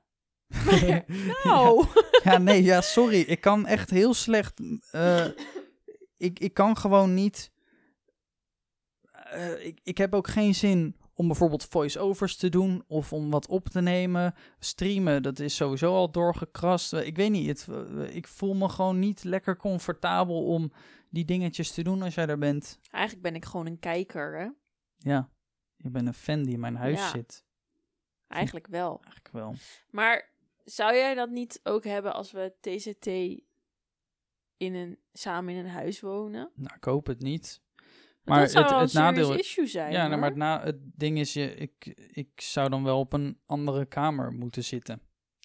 Nou.
Ja, nee, ja, sorry. Ik kan echt heel slecht. eh, ik, ik kan gewoon niet. eh, ik, ik heb ook geen zin om bijvoorbeeld voice-overs te doen of om wat op te nemen. Streamen, dat is sowieso al doorgekrast. Eh, Ik weet niet, het, eh, ik voel me gewoon niet lekker comfortabel om die dingetjes te doen als jij er bent.
Eigenlijk ben ik gewoon een kijker, hè?
Ja, je bent een fan die in mijn huis
Ja.
zit.
Eigenlijk wel.
Eigenlijk wel.
Maar zou jij dat niet ook hebben als we TCT in een, samen in een huis wonen? Want
Nou, ik hoop het niet. Maar
dat zou
het,
wel
het
een
nadeel
serious issue zijn.
Ja, nou,
hoor.
maar het, na, het ding is, je, ik, ik zou dan wel op een andere kamer moeten zitten.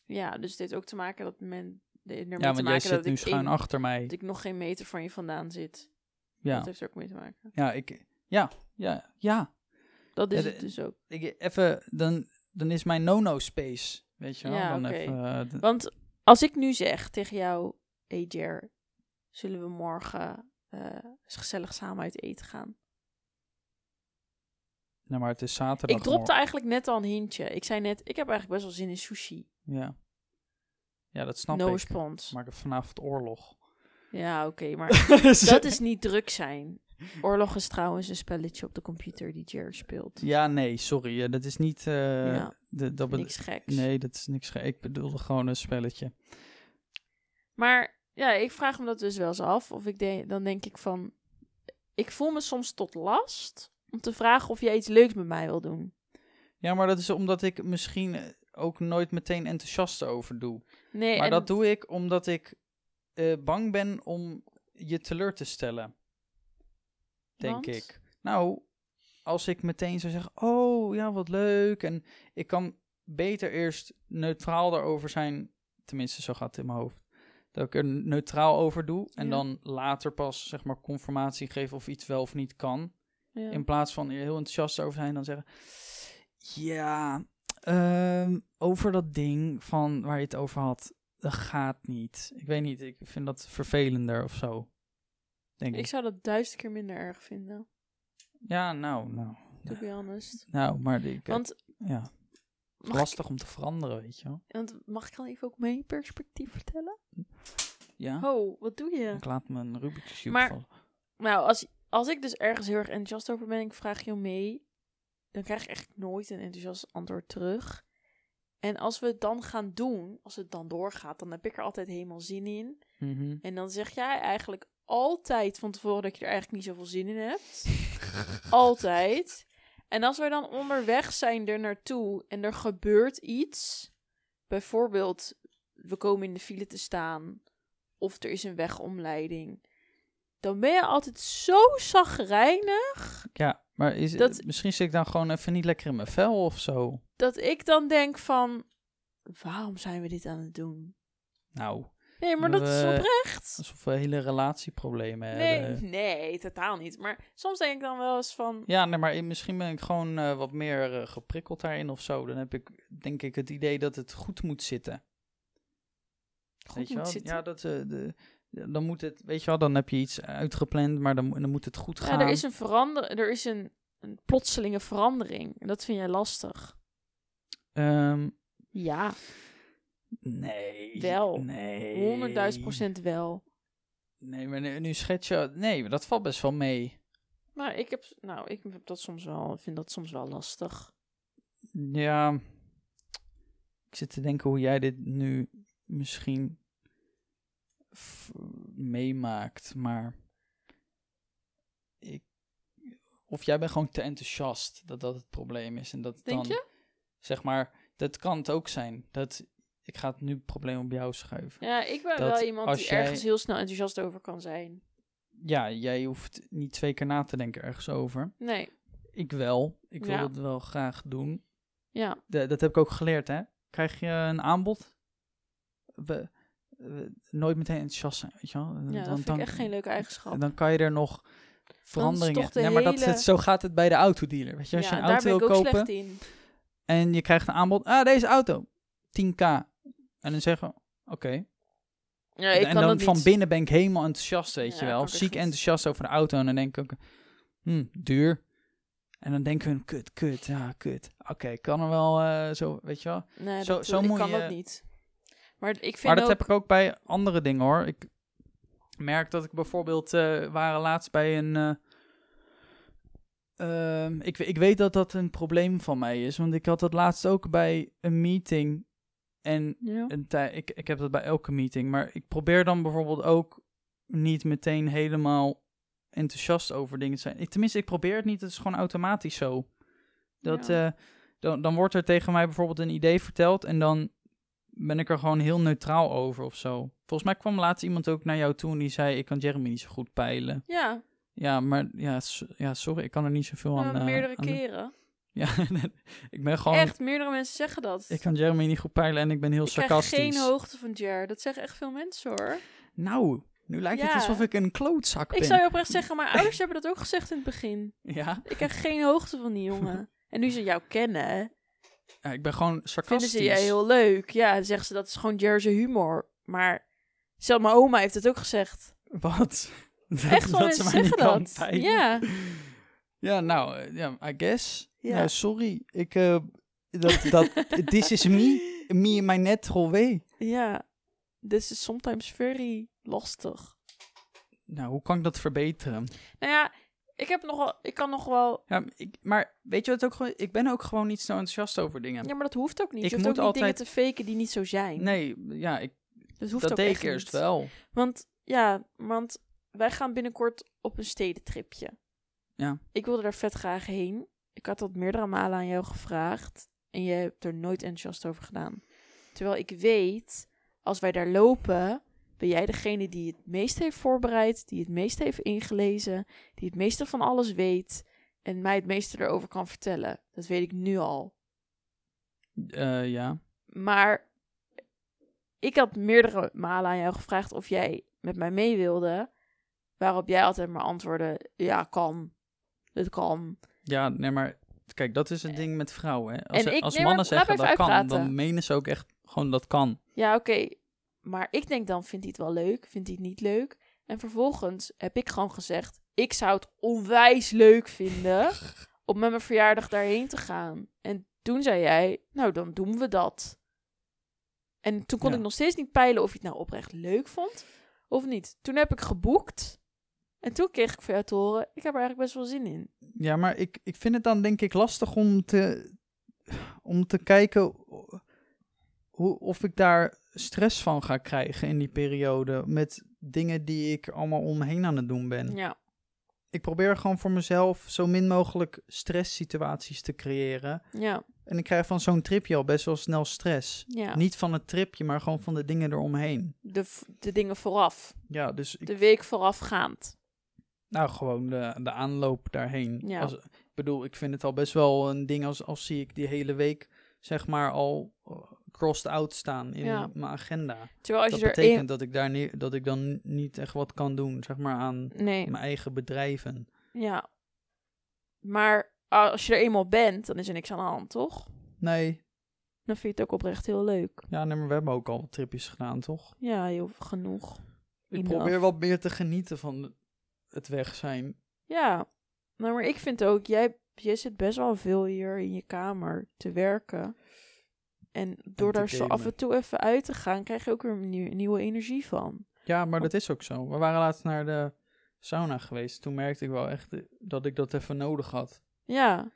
Ja, dus dit ook te maken dat men ermee te
ja, want jij
maken
zit
dat
nu
ik
schuin
één-
achter mij.
dat ik nog geen meter van je vandaan zit. Dat
Ja,
heeft er ook mee te maken.
ja, ik, ja, ja, ja.
Dat is
Ja, de-
het dus ook.
Ik, even, dan, dan is mijn no-no space, weet je wel.
Ja,
dan
oké.
even, eh, d-
Want als ik nu zeg tegen jou, hey Jer, zullen we morgen eh, eens gezellig samen uit eten gaan?
nou, maar het is zaterdag.
Ik dropte eigenlijk net al een hintje. Ik zei net, ik heb eigenlijk best wel zin in sushi.
Ja. ja, dat snap
no
ik.
response.
Maar ik heb vanavond oorlog.
Ja, oké, maar dat is niet druk zijn. Oorlog is trouwens een spelletje op de computer die Jer speelt.
Ja, nee, sorry. eh, Dat is niet... eh,
Ja,
de, dat be-
niks geks.
Nee, dat is niks. ge- Ik bedoelde gewoon een spelletje.
Maar ja, ik vraag me dat dus wel eens af. Of ik de- dan denk ik van. Ik voel me soms tot last om te vragen of jij iets leuks met mij wil doen.
Ja, maar dat is omdat ik misschien eh, ook nooit meteen enthousiast over doe.
Nee,
Maar
en,
dat doe ik omdat ik eh, bang ben om je teleur te stellen. Denk
Want?
ik. Nou, als ik meteen zou zeggen, oh ja, wat leuk. En ik kan beter eerst neutraal daarover zijn Tenminste, zo gaat het in mijn hoofd. Dat ik er neutraal over doe en
Ja.
dan later pas zeg maar conformatie geef of iets wel of niet kan.
Ja.
In plaats van er heel enthousiast over zijn en dan zeggen: Ja, ehm, over dat ding van waar je het over had, dat gaat niet. Ik weet niet, ik vind dat vervelender of zo. Denk ik.
Ik zou dat duizend keer minder erg vinden,
Ja, nou, nou.
to be honest.
Nou, maar ik, eh,
Want
ja,
mag, ik,
lastig om te veranderen, weet je wel.
want mag ik dan even ook mijn perspectief vertellen?
Ja,
Oh, wat doe je?
ik laat mijn Rubik's Cube
Maar-
vallen.
Nou, als, als ik dus ergens heel erg enthousiast over ben en ik vraag jou mee, dan krijg ik echt nooit een enthousiast antwoord terug. En als we het dan gaan doen, als het dan doorgaat, dan heb ik er altijd helemaal zin in.
Mhm.
En dan zeg jij eigenlijk altijd van tevoren dat je er eigenlijk niet zoveel zin in hebt. altijd. En als we dan onderweg zijn er naartoe en er gebeurt iets, bijvoorbeeld we komen in de file te staan of er is een wegomleiding, dan ben je altijd zo zagrijnig
Ja, maar is,
Dat-
misschien zit ik dan gewoon even niet lekker in mijn vel of zo.
dat ik dan denk van, waarom zijn we dit aan het doen?
Nou,
Nee, maar dat is
We-
oprecht.
alsof we hele relatieproblemen
Nee,
hebben.
nee, totaal niet. Maar soms denk ik dan wel eens van,
Ja, nee, maar misschien ben ik gewoon eh, wat meer eh, geprikkeld daarin of zo. Dan heb ik denk ik het idee dat het goed moet zitten.
goed
weet je
moet
wel?
zitten.
Ja, dat, eh, de, dan moet het, weet je wel, dan heb je iets uitgepland, maar dan, mo- dan moet het goed gaan.
Ja, er is een verander, er is een, een plotselinge verandering. En dat vind jij lastig.
Ehm,
Ja,
nee.
Wel.
Nee.
100.000 procent wel.
Nee, maar nu, nu schets je... Nee, dat valt best wel mee.
Maar ik heb, nou, ik heb dat soms wel, vind dat soms wel lastig.
Ja. Ik zit te denken hoe jij dit nu misschien f- meemaakt, maar ik of jij bent gewoon te enthousiast dat dat het probleem is en dat het
Denk
dan zeg maar dat kan het ook zijn dat ik ga het nu het probleem op jou schuiven.
Ja, ik ben
Dat
wel iemand
als
die
jij-
ergens heel snel enthousiast over kan zijn.
Ja, jij hoeft niet twee keer na te denken ergens over.
Nee,
Ik wel. Ik wil
Ja.
dat wel graag doen.
ja.
De- dat heb ik ook geleerd, hè. Krijg je een aanbod? We, we- nooit meteen enthousiast zijn, weet je wel.
ja dat vind ik echt geen leuke eigenschap.
Dan kan je er nog veranderingen...
toch de
nee, maar dat,
hele-
dat- zo gaat het bij de autodealer, weet je. Als
ja,
je een
daar
auto
ben ik
wil
ook
kopen
slecht in.
en je krijgt een aanbod... Ah, deze auto, 10k. En dan zeggen we, oké.
Ja, ik
En
kan
dan
dat niet.
van binnen ben ik helemaal enthousiast, weet
Ja,
je
kan
wel.
ik echt
Ziek
niet.
enthousiast over de auto. En dan denk ik ook, hm, duur. En dan denken we, kut, kut, ja, kut. Oké, kan er wel eh, zo, weet je wel.
Nee,
Zo-
dat,
zo
ik
moet
kan
je-
dat niet. Maar ik vind
Maar dat
ook...
heb ik ook bij andere dingen hoor. Ik merk dat ik bijvoorbeeld, eh waren laatst bij een. eh, ehm, ik, we- ik weet dat dat een probleem van mij is, want ik had dat laatst ook bij een meeting. En
Ja.
een tij- ik, ik heb dat bij elke meeting, maar ik probeer dan bijvoorbeeld ook niet meteen helemaal enthousiast over dingen te zijn. Ik, tenminste, ik probeer het niet, het is gewoon automatisch zo. Dat,
Ja.
eh, dan, dan wordt er tegen mij bijvoorbeeld een idee verteld en dan ben ik er gewoon heel neutraal over of zo. Volgens mij kwam laatst iemand ook naar jou toe en die zei, ik kan Jeremy niet zo goed peilen.
Ja,
Ja, maar ja, s- ja sorry, ik kan er niet zoveel eh, aan.
eh,
eh,
meerdere
aan doen.
keren.
Ja, ik ben gewoon,
Echt, meerdere mensen zeggen dat.
ik kan Jeremy niet goed peilen en ik ben heel
Ik krijg
sarcastisch.
geen hoogte van Jer. Dat zeggen echt veel mensen hoor.
Nou, nu lijkt
Ja.
het alsof ik een klootzak ben.
Ik zou je oprecht zeggen, mijn ouders hebben dat ook gezegd in het begin.
Ja?
Ik krijg geen hoogte van die jongen. En nu ze jou kennen,
ja, ik ben gewoon
vinden
sarcastisch.
ze je heel leuk. Ja, dan zeggen ze dat is gewoon Jer's humor. Maar zelfs mijn oma heeft het ook gezegd.
Wat? Dat,
Echt wel
dat ze
mensen
mij
zeggen
niet kan
dat.
peilen?
Ja,
Ja, nou, eh, ja, I guess.
Ja.
Nou, sorry. Ik, eh, dat, dat, this is me. Me in my natural way.
ja. This is sometimes very lastig.
Nou, hoe kan ik dat verbeteren?
Nou ja, ik heb nog wel, ik kan nog wel.
Ja, ik, maar weet je wat ook gewoon... Ik ben ook gewoon niet zo enthousiast over dingen.
Ja, maar dat hoeft ook niet.
Ik
je hoeft
moet
ook niet
altijd-
dingen te faken die niet zo zijn.
Nee, ja, ik,
dat hoeft
dat
ook
deed ik
echt
eerst
niet.
wel.
Want ja, want wij gaan binnenkort op een stedentripje.
Ja.
Ik wilde daar vet graag heen. Ik had dat meerdere malen aan jou gevraagd. En je hebt er nooit enthousiast over gedaan. Terwijl ik weet, als wij daar lopen, ben jij degene die het meest heeft voorbereid, die het meest heeft ingelezen, die het meeste van alles weet en mij het meeste erover kan vertellen. Dat weet ik nu al.
Eh, ja.
Maar Ik had meerdere malen aan jou gevraagd of jij met mij mee wilde. Waarop jij altijd maar antwoordde: ja, kan. Het kan.
Ja, nee, maar kijk, dat is het ding met vrouwen. Hè. Als,
En ik-
als
nee, maar
mannen
laat me
zeggen dat
even
kan,
uitpraten.
dan menen ze ook echt gewoon dat kan.
Ja, oké. Maar ik denk dan: vindt hij het wel leuk? Vindt hij het niet leuk? En vervolgens heb ik gewoon gezegd: ik zou het onwijs leuk vinden om met mijn verjaardag daarheen te gaan. En toen zei jij: nou, dan doen we dat. En toen kon
Ja.
ik nog steeds niet peilen of je het nou oprecht leuk vond of niet. Toen heb ik geboekt. En toen kreeg ik van jou te horen, ik heb er eigenlijk best wel zin in.
Ja, maar ik, ik vind het dan denk ik lastig om te, om te kijken hoe, of ik daar stress van ga krijgen in die periode. Met dingen die ik allemaal omheen aan het doen ben.
Ja.
Ik probeer gewoon voor mezelf zo min mogelijk stresssituaties te creëren.
Ja,
En ik krijg van zo'n tripje al best wel snel stress.
ja.
Niet van het tripje, maar gewoon van de dingen eromheen.
De, v- de dingen vooraf.
Ja, dus ik,
De week voorafgaand.
nou gewoon de, de aanloop daarheen.
Ja.
Als, ik bedoel, ik vind het al best wel een ding als, als zie ik die hele week zeg maar al eh, crossed out staan in
Ja.
mijn agenda.
Terwijl als
dat
je er
betekent dat ik daar nie- dat ik dan niet echt wat kan doen, zeg maar aan
één... Nee,
mijn eigen bedrijven.
ja. Maar als je er eenmaal bent, dan is er niks aan de hand, toch?
Nee,
Dan vind je het ook oprecht heel leuk.
ja, nee, maar we hebben ook al wat tripjes gedaan, toch?
Ja, heel genoeg.
Ik
Enough.
probeer wat meer te genieten van het weg zijn.
Ja. Nou, maar ik vind ook, jij, jij zit best wel veel hier in je kamer te werken. En door
te
daar zo af
gamen.
en toe even uit te gaan, krijg je ook weer nieuw- nieuwe energie van.
Ja, maar dat is ook zo. We waren laatst naar de sauna geweest. Toen merkte ik wel echt eh, dat ik dat even nodig had.
Ja,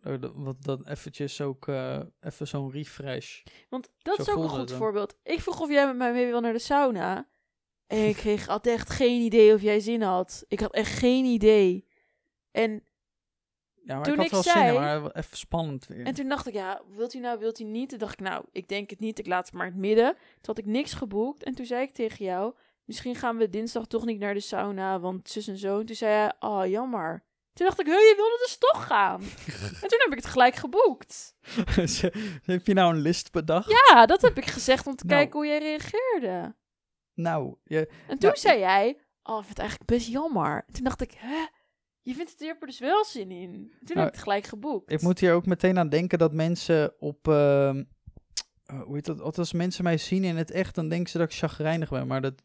Eh, dat- Wat dat eventjes ook eh, even zo'n refresh.
want dat
Zo
is ook een
voelde
goed
het dan.
voorbeeld. Ik vroeg of jij met mij mee wil naar de sauna. En ik kreeg, had echt geen idee of jij zin had. Ik had echt geen idee. En,
Ja, maar
Toen
ik had
ik
wel zin
zei-
in, maar wel even spannend weer.
en toen dacht ik, ja, wilt u nou, wilt u niet? Toen dacht ik, nou, ik denk het niet. Ik laat het maar in het midden. Toen had ik niks geboekt. En toen zei ik tegen jou, misschien gaan we dinsdag toch niet naar de sauna, want zus en zo. En toen zei hij, oh, jammer. Toen dacht ik, hé, je wilde dus toch gaan. en toen heb ik het gelijk geboekt.
Ze- Dus, Heb je nou een list bedacht?
Ja, dat heb ik gezegd om te
Nou.
kijken hoe jij reageerde.
Nou, je,
En toen
Ja,
zei jij, oh, ik vind het eigenlijk best jammer. En toen dacht ik, hè? Je vindt het je hebt er dus wel zin in. En Toen
Nou,
heb ik het gelijk geboekt.
ik moet hier ook meteen aan denken dat mensen op... ehm, eh, hoe heet dat? Altijd Als mensen mij zien in het echt, dan denken ze dat ik chagrijnig ben. Maar dat,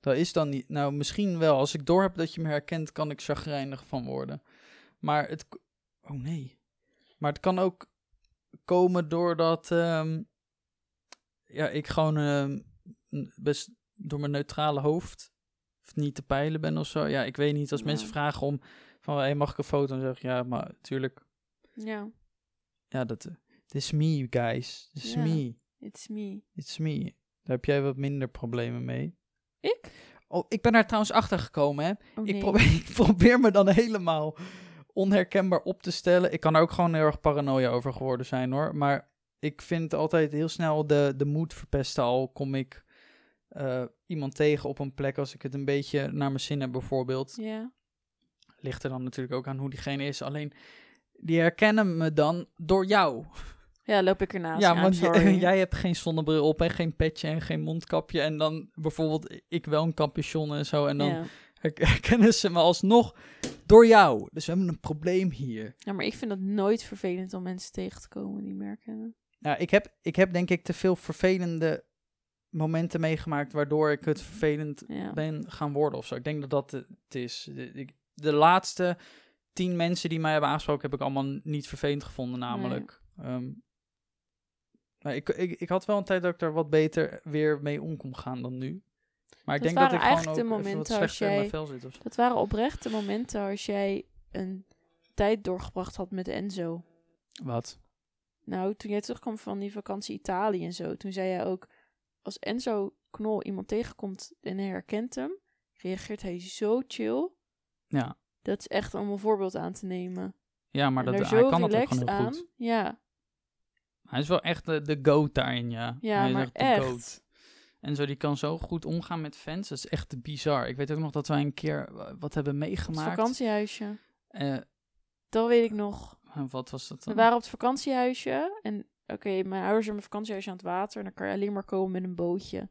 dat is dan niet... Nou, misschien wel. Als ik doorheb dat je me herkent, kan ik chagrijnig van worden. Maar het... k- Oh nee. Maar het kan ook komen doordat... ehm, ja, ik gewoon ehm, n- best door mijn neutrale hoofd of niet te peilen ben of zo. Ja, ik weet niet. Als
Ja.
mensen vragen om van, hey, mag ik een foto? Dan zeg ik, ja, maar natuurlijk.
Ja,
Ja, dat... eh, This is me, guys. This is
Ja.
me.
it's me.
It's me. Daar heb jij wat minder problemen mee.
Ik?
Oh, ik ben daar trouwens achter gekomen, hè.
Oh,
Ik,
nee.
probeer, ik probeer me dan helemaal onherkenbaar op te stellen. Ik kan er ook gewoon heel erg paranoia over geworden zijn hoor. Maar ik vind altijd heel snel de, de moed verpesten. Al kom ik eh, iemand tegen op een plek als ik het een beetje naar mijn zin heb bijvoorbeeld.
Ja.
Ligt er dan natuurlijk ook aan hoe diegene is. Alleen die herkennen me dan door jou.
ja, loop ik ernaast.
ja,
I'm
want j-
sorry.
jij hebt geen zonnebril op en geen petje en geen mondkapje. En dan bijvoorbeeld ik wel een capuchon en zo. En dan
Ja.
Her- herkennen ze me alsnog door jou. Dus we hebben een probleem hier.
Ja, maar ik vind dat nooit vervelend om mensen tegen te komen die merken.
Nou, ik heb, ik heb denk ik te veel vervelende momenten meegemaakt waardoor ik het vervelend
Ja.
ben gaan worden of zo. Ik denk dat dat het is. De, ik- de laatste tien mensen die mij hebben aangesproken heb ik allemaal niet vervelend gevonden namelijk. Ehm, maar ik, ik, ik had wel een tijd dat ik er wat beter weer mee om kon gaan dan nu. Maar ik
Dat
denk dat
waren
ik gewoon ook
eigenlijk de
even wat
momenten als
slechter in mijn
jij-
vel zit. Of zo.
Dat waren oprechte momenten als jij een tijd doorgebracht had met Enzo.
Wat?
Nou, toen jij terugkwam van die vakantie Italië en zo, toen zei jij ook: als Enzo Knol iemand tegenkomt en hij herkent hem, reageert hij zo chill.
Ja.
Dat is echt om een voorbeeld aan te nemen.
Ja, maar
en
dat,
daar
hij
zo
kan dat ook
relaxed
gewoon heel
aan.
goed.
Ja,
Hij is wel echt de, de goat daarin, ja.
ja
hij is
maar
echt
echt.
de goat. En zo, die kan zo goed omgaan met fans. Dat is echt bizar. Ik weet ook nog dat wij een keer eh, wat hebben
Het
meegemaakt.
vakantiehuisje.
Eh,
Dat weet ik nog.
wat was dat
We
dan?
waren op het vakantiehuisje en oké, mijn ouders hebben een vakantiehuisje aan het water. En dan kan je alleen maar komen met een bootje.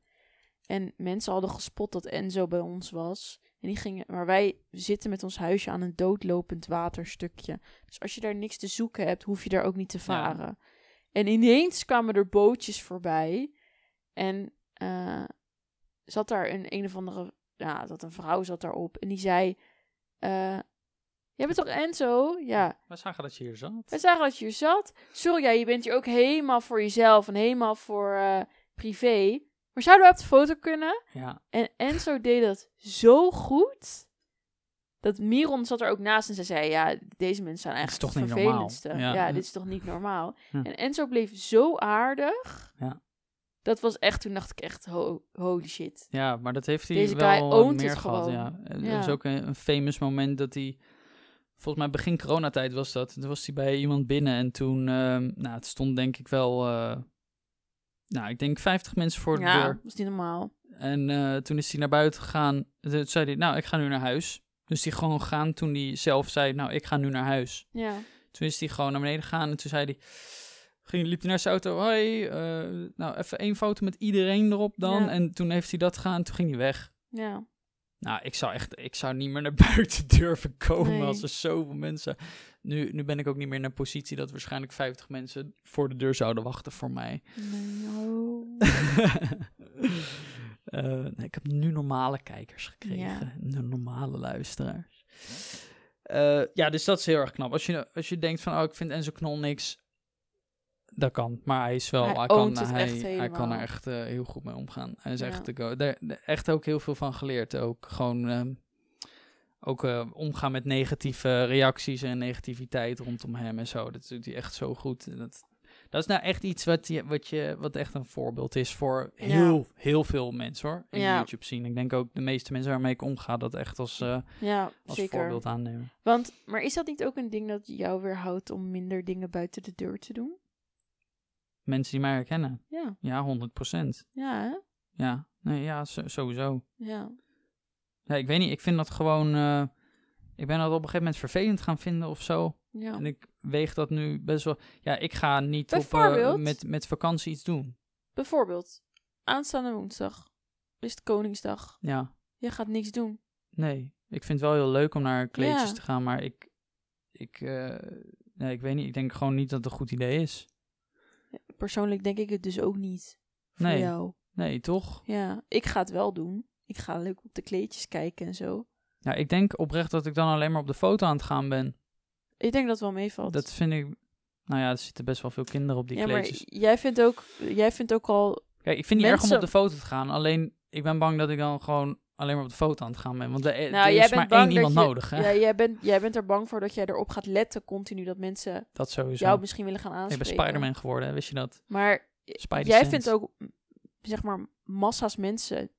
En mensen hadden gespot dat Enzo bij ons was. En die gingen, maar wij zitten met ons huisje aan een doodlopend waterstukje. Dus als je daar niks te zoeken hebt, hoef je daar ook niet te varen. En ineens kwamen er bootjes voorbij. En eh, zat daar een een of andere, ja, dat een vrouw zat daarop. En die zei, eh, jij bent toch Enzo? Ja,
We zagen dat je hier zat.
we zagen dat je hier zat. Sorry, ja, je bent hier ook helemaal voor jezelf en helemaal voor eh, privé. Maar zouden we op de foto kunnen?
Ja,
En Enzo deed dat zo goed. Dat Miron zat er ook naast en ze zei: Ja, deze mensen zijn
Dit is
eigenlijk
toch
het
niet
vervelendste.
normaal.
Ja,
Ja, ja.
dit is toch niet normaal.
Ja.
En Enzo bleef zo aardig.
Ja.
Dat was echt, toen dacht ik echt: ho- holy shit.
ja maar dat heeft hij
Deze
wel
guy
eh,
ownt
meer
het
gehad.
gewoon.
Ja. Eh, Er
Ja.
is ook een, een famous moment dat hij... Volgens mij begin coronatijd was dat. Toen was hij bij iemand binnen en toen... ehm, nou, het stond denk ik wel... eh, nou, ik denk 50 mensen voor de
ja,
deur.
was niet normaal.
En eh, toen is hij naar buiten gegaan. Toen zei hij, nou, ik ga nu naar huis. Dus die gewoon gaan toen hij zelf zei, nou, ik ga nu naar huis.
Ja.
Toen is hij gewoon naar beneden gegaan en toen zei hij... Ging, liep hij naar zijn auto, hoi, eh, nou, even één foto met iedereen erop dan.
Ja.
En toen heeft hij dat gedaan en toen ging hij weg.
Ja.
Nou, ik zou echt, ik zou niet meer naar buiten durven komen
Nee.
als er zoveel mensen... Nu, nu ben ik ook niet meer in een positie dat waarschijnlijk 50 mensen voor de deur zouden wachten voor mij.
Nee, oh.
Eh, nee, ik heb nu normale kijkers gekregen.
Ja.
nu Normale luisteraars. Eh, ja, dus dat is heel erg knap. Als je, als je denkt van, oh, ik vind Enzo Knol niks. Dat kan. Maar hij is wel...
Hij
Hij, kan,
ownt het
hij,
echt
hij kan
helemaal.
er echt eh, heel goed mee omgaan. Hij is
Ja.
echt, de go- daar, daar- echt ook heel veel van geleerd. Ook gewoon... ehm, ook eh, omgaan met negatieve reacties en negativiteit rondom hem en zo. Dat doet hij echt zo goed. En Dat, dat is nou echt iets wat, je, wat, je, wat echt een voorbeeld is voor
Ja.
heel, heel veel mensen hoor. In
Ja.
de YouTube zien. Ik denk ook de meeste mensen waarmee ik omga dat echt als, eh,
ja,
als
zeker.
voorbeeld aannemen.
Want, maar is dat niet ook een ding dat jou weerhoudt om minder dingen buiten de deur te doen?
Mensen die mij herkennen.
Ja.
Ja, 100%.
Ja, hè?
Ja, nee, ja zo- sowieso.
Ja.
Ja, ik weet niet, ik vind dat gewoon. eh, ik ben dat op een gegeven moment vervelend gaan vinden of zo.
ja.
En ik weeg dat nu best wel. Ja, ik ga niet op, eh,
Bijvoorbeeld?
met, met vakantie iets doen.
Bijvoorbeeld, aanstaande woensdag is het Koningsdag.
Ja.
Je gaat niks doen.
Nee, ik vind het wel heel leuk om naar kleedjes
Ja.
te gaan, maar ik, ik, eh, nee, ik weet niet. Ik denk gewoon niet dat het een goed idee is.
Persoonlijk denk ik het dus ook niet. Voor
Nee.
jou.
Nee, toch?
Ja. Ik ga het wel doen. Ik ga leuk op de kleedjes kijken en zo.
Ja, ik denk oprecht dat ik dan alleen maar op de foto aan het gaan ben.
Ik denk dat het wel meevalt.
Dat vind ik. Nou ja, er zitten best wel veel kinderen op die
ja, maar
kleedjes.
jij vindt, ook, jij vindt ook al...
Kijk, ik vind het niet erg om
mensen-
op de foto te gaan. Alleen, ik ben bang dat ik dan gewoon alleen maar op de foto aan het gaan ben. Want er, er
Nou, jij
is
bent
maar
bang
één
dat
iemand
je-
nodig, hè?
Ja, jij, bent, jij bent er bang voor dat jij erop gaat letten continu. Dat mensen
Dat sowieso.
jou misschien willen gaan
ik
aanspreken.
ben Spider-Man geworden, hè? wist je dat?
Maar
Spider
Jij
sense.
vindt ook, m, zeg maar, massa's mensen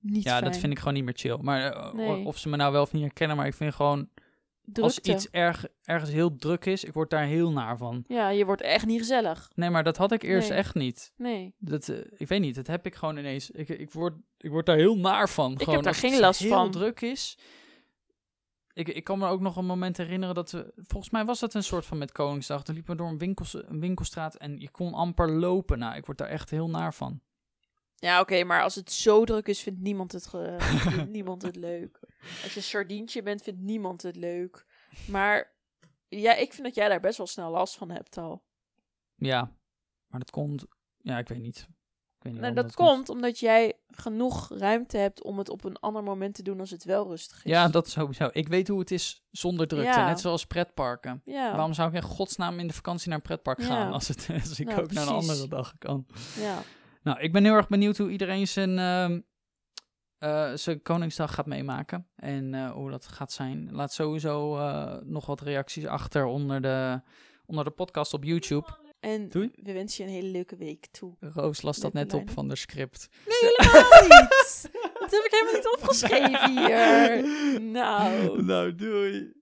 niet
Ja, dat vind ik gewoon niet meer chill. Maar eh, o-
Nee.
of ze me nou wel of niet herkennen, maar ik vind gewoon Als iets erg, ergens heel druk is, ik word daar heel naar van.
Ja, je wordt echt niet gezellig.
Nee, maar dat had ik eerst
Nee.
echt niet.
Nee,
Dat, eh, ik weet niet, dat heb ik gewoon ineens. Ik, ik, word, ik word daar heel naar van.
heb
gewoon,
daar
als het
geen last
heel
van.
druk is. Ik, ik kan me ook nog een moment herinneren dat we... Volgens mij was dat een soort van met Koningsdag. Toen liepen we door een, winkels, een winkelstraat en je kon amper lopen. Nou, ik word daar echt heel naar van.
ja, oké, maar als het zo druk is, vindt niemand het, ge- vindt niemand het leuk. Als je een sardientje bent, vindt niemand het leuk. Maar ja, ik vind dat jij daar best wel snel last van hebt al.
Ja, maar dat komt... Ja, ik weet niet. Ik weet niet waarom
En Nou, dat komt omdat jij genoeg ruimte hebt om het op een ander moment te doen als het wel rustig is.
Ja, dat sowieso. Ik weet hoe het is zonder drukte.
Ja.
Net zoals pretparken.
ja,
Waarom zou ik in godsnaam in de vakantie naar een pretpark
Oh. Ja.
gaan als, het, als ik
Nou,
ook naar een
precies.
andere dag kan?
ja.
Nou, ik ben heel erg benieuwd hoe iedereen zijn, ehm, eh, zijn Koningsdag gaat meemaken. En eh, hoe dat gaat zijn. Laat sowieso eh, nog wat reacties achter onder de, onder de podcast op YouTube.
En
Doei.
we wensen je een hele leuke week toe.
Roos las dat net op
Lekker
van de script.
Nee, helemaal niet. Dat heb ik helemaal niet opgeschreven hier. Nou.
Nou, doei.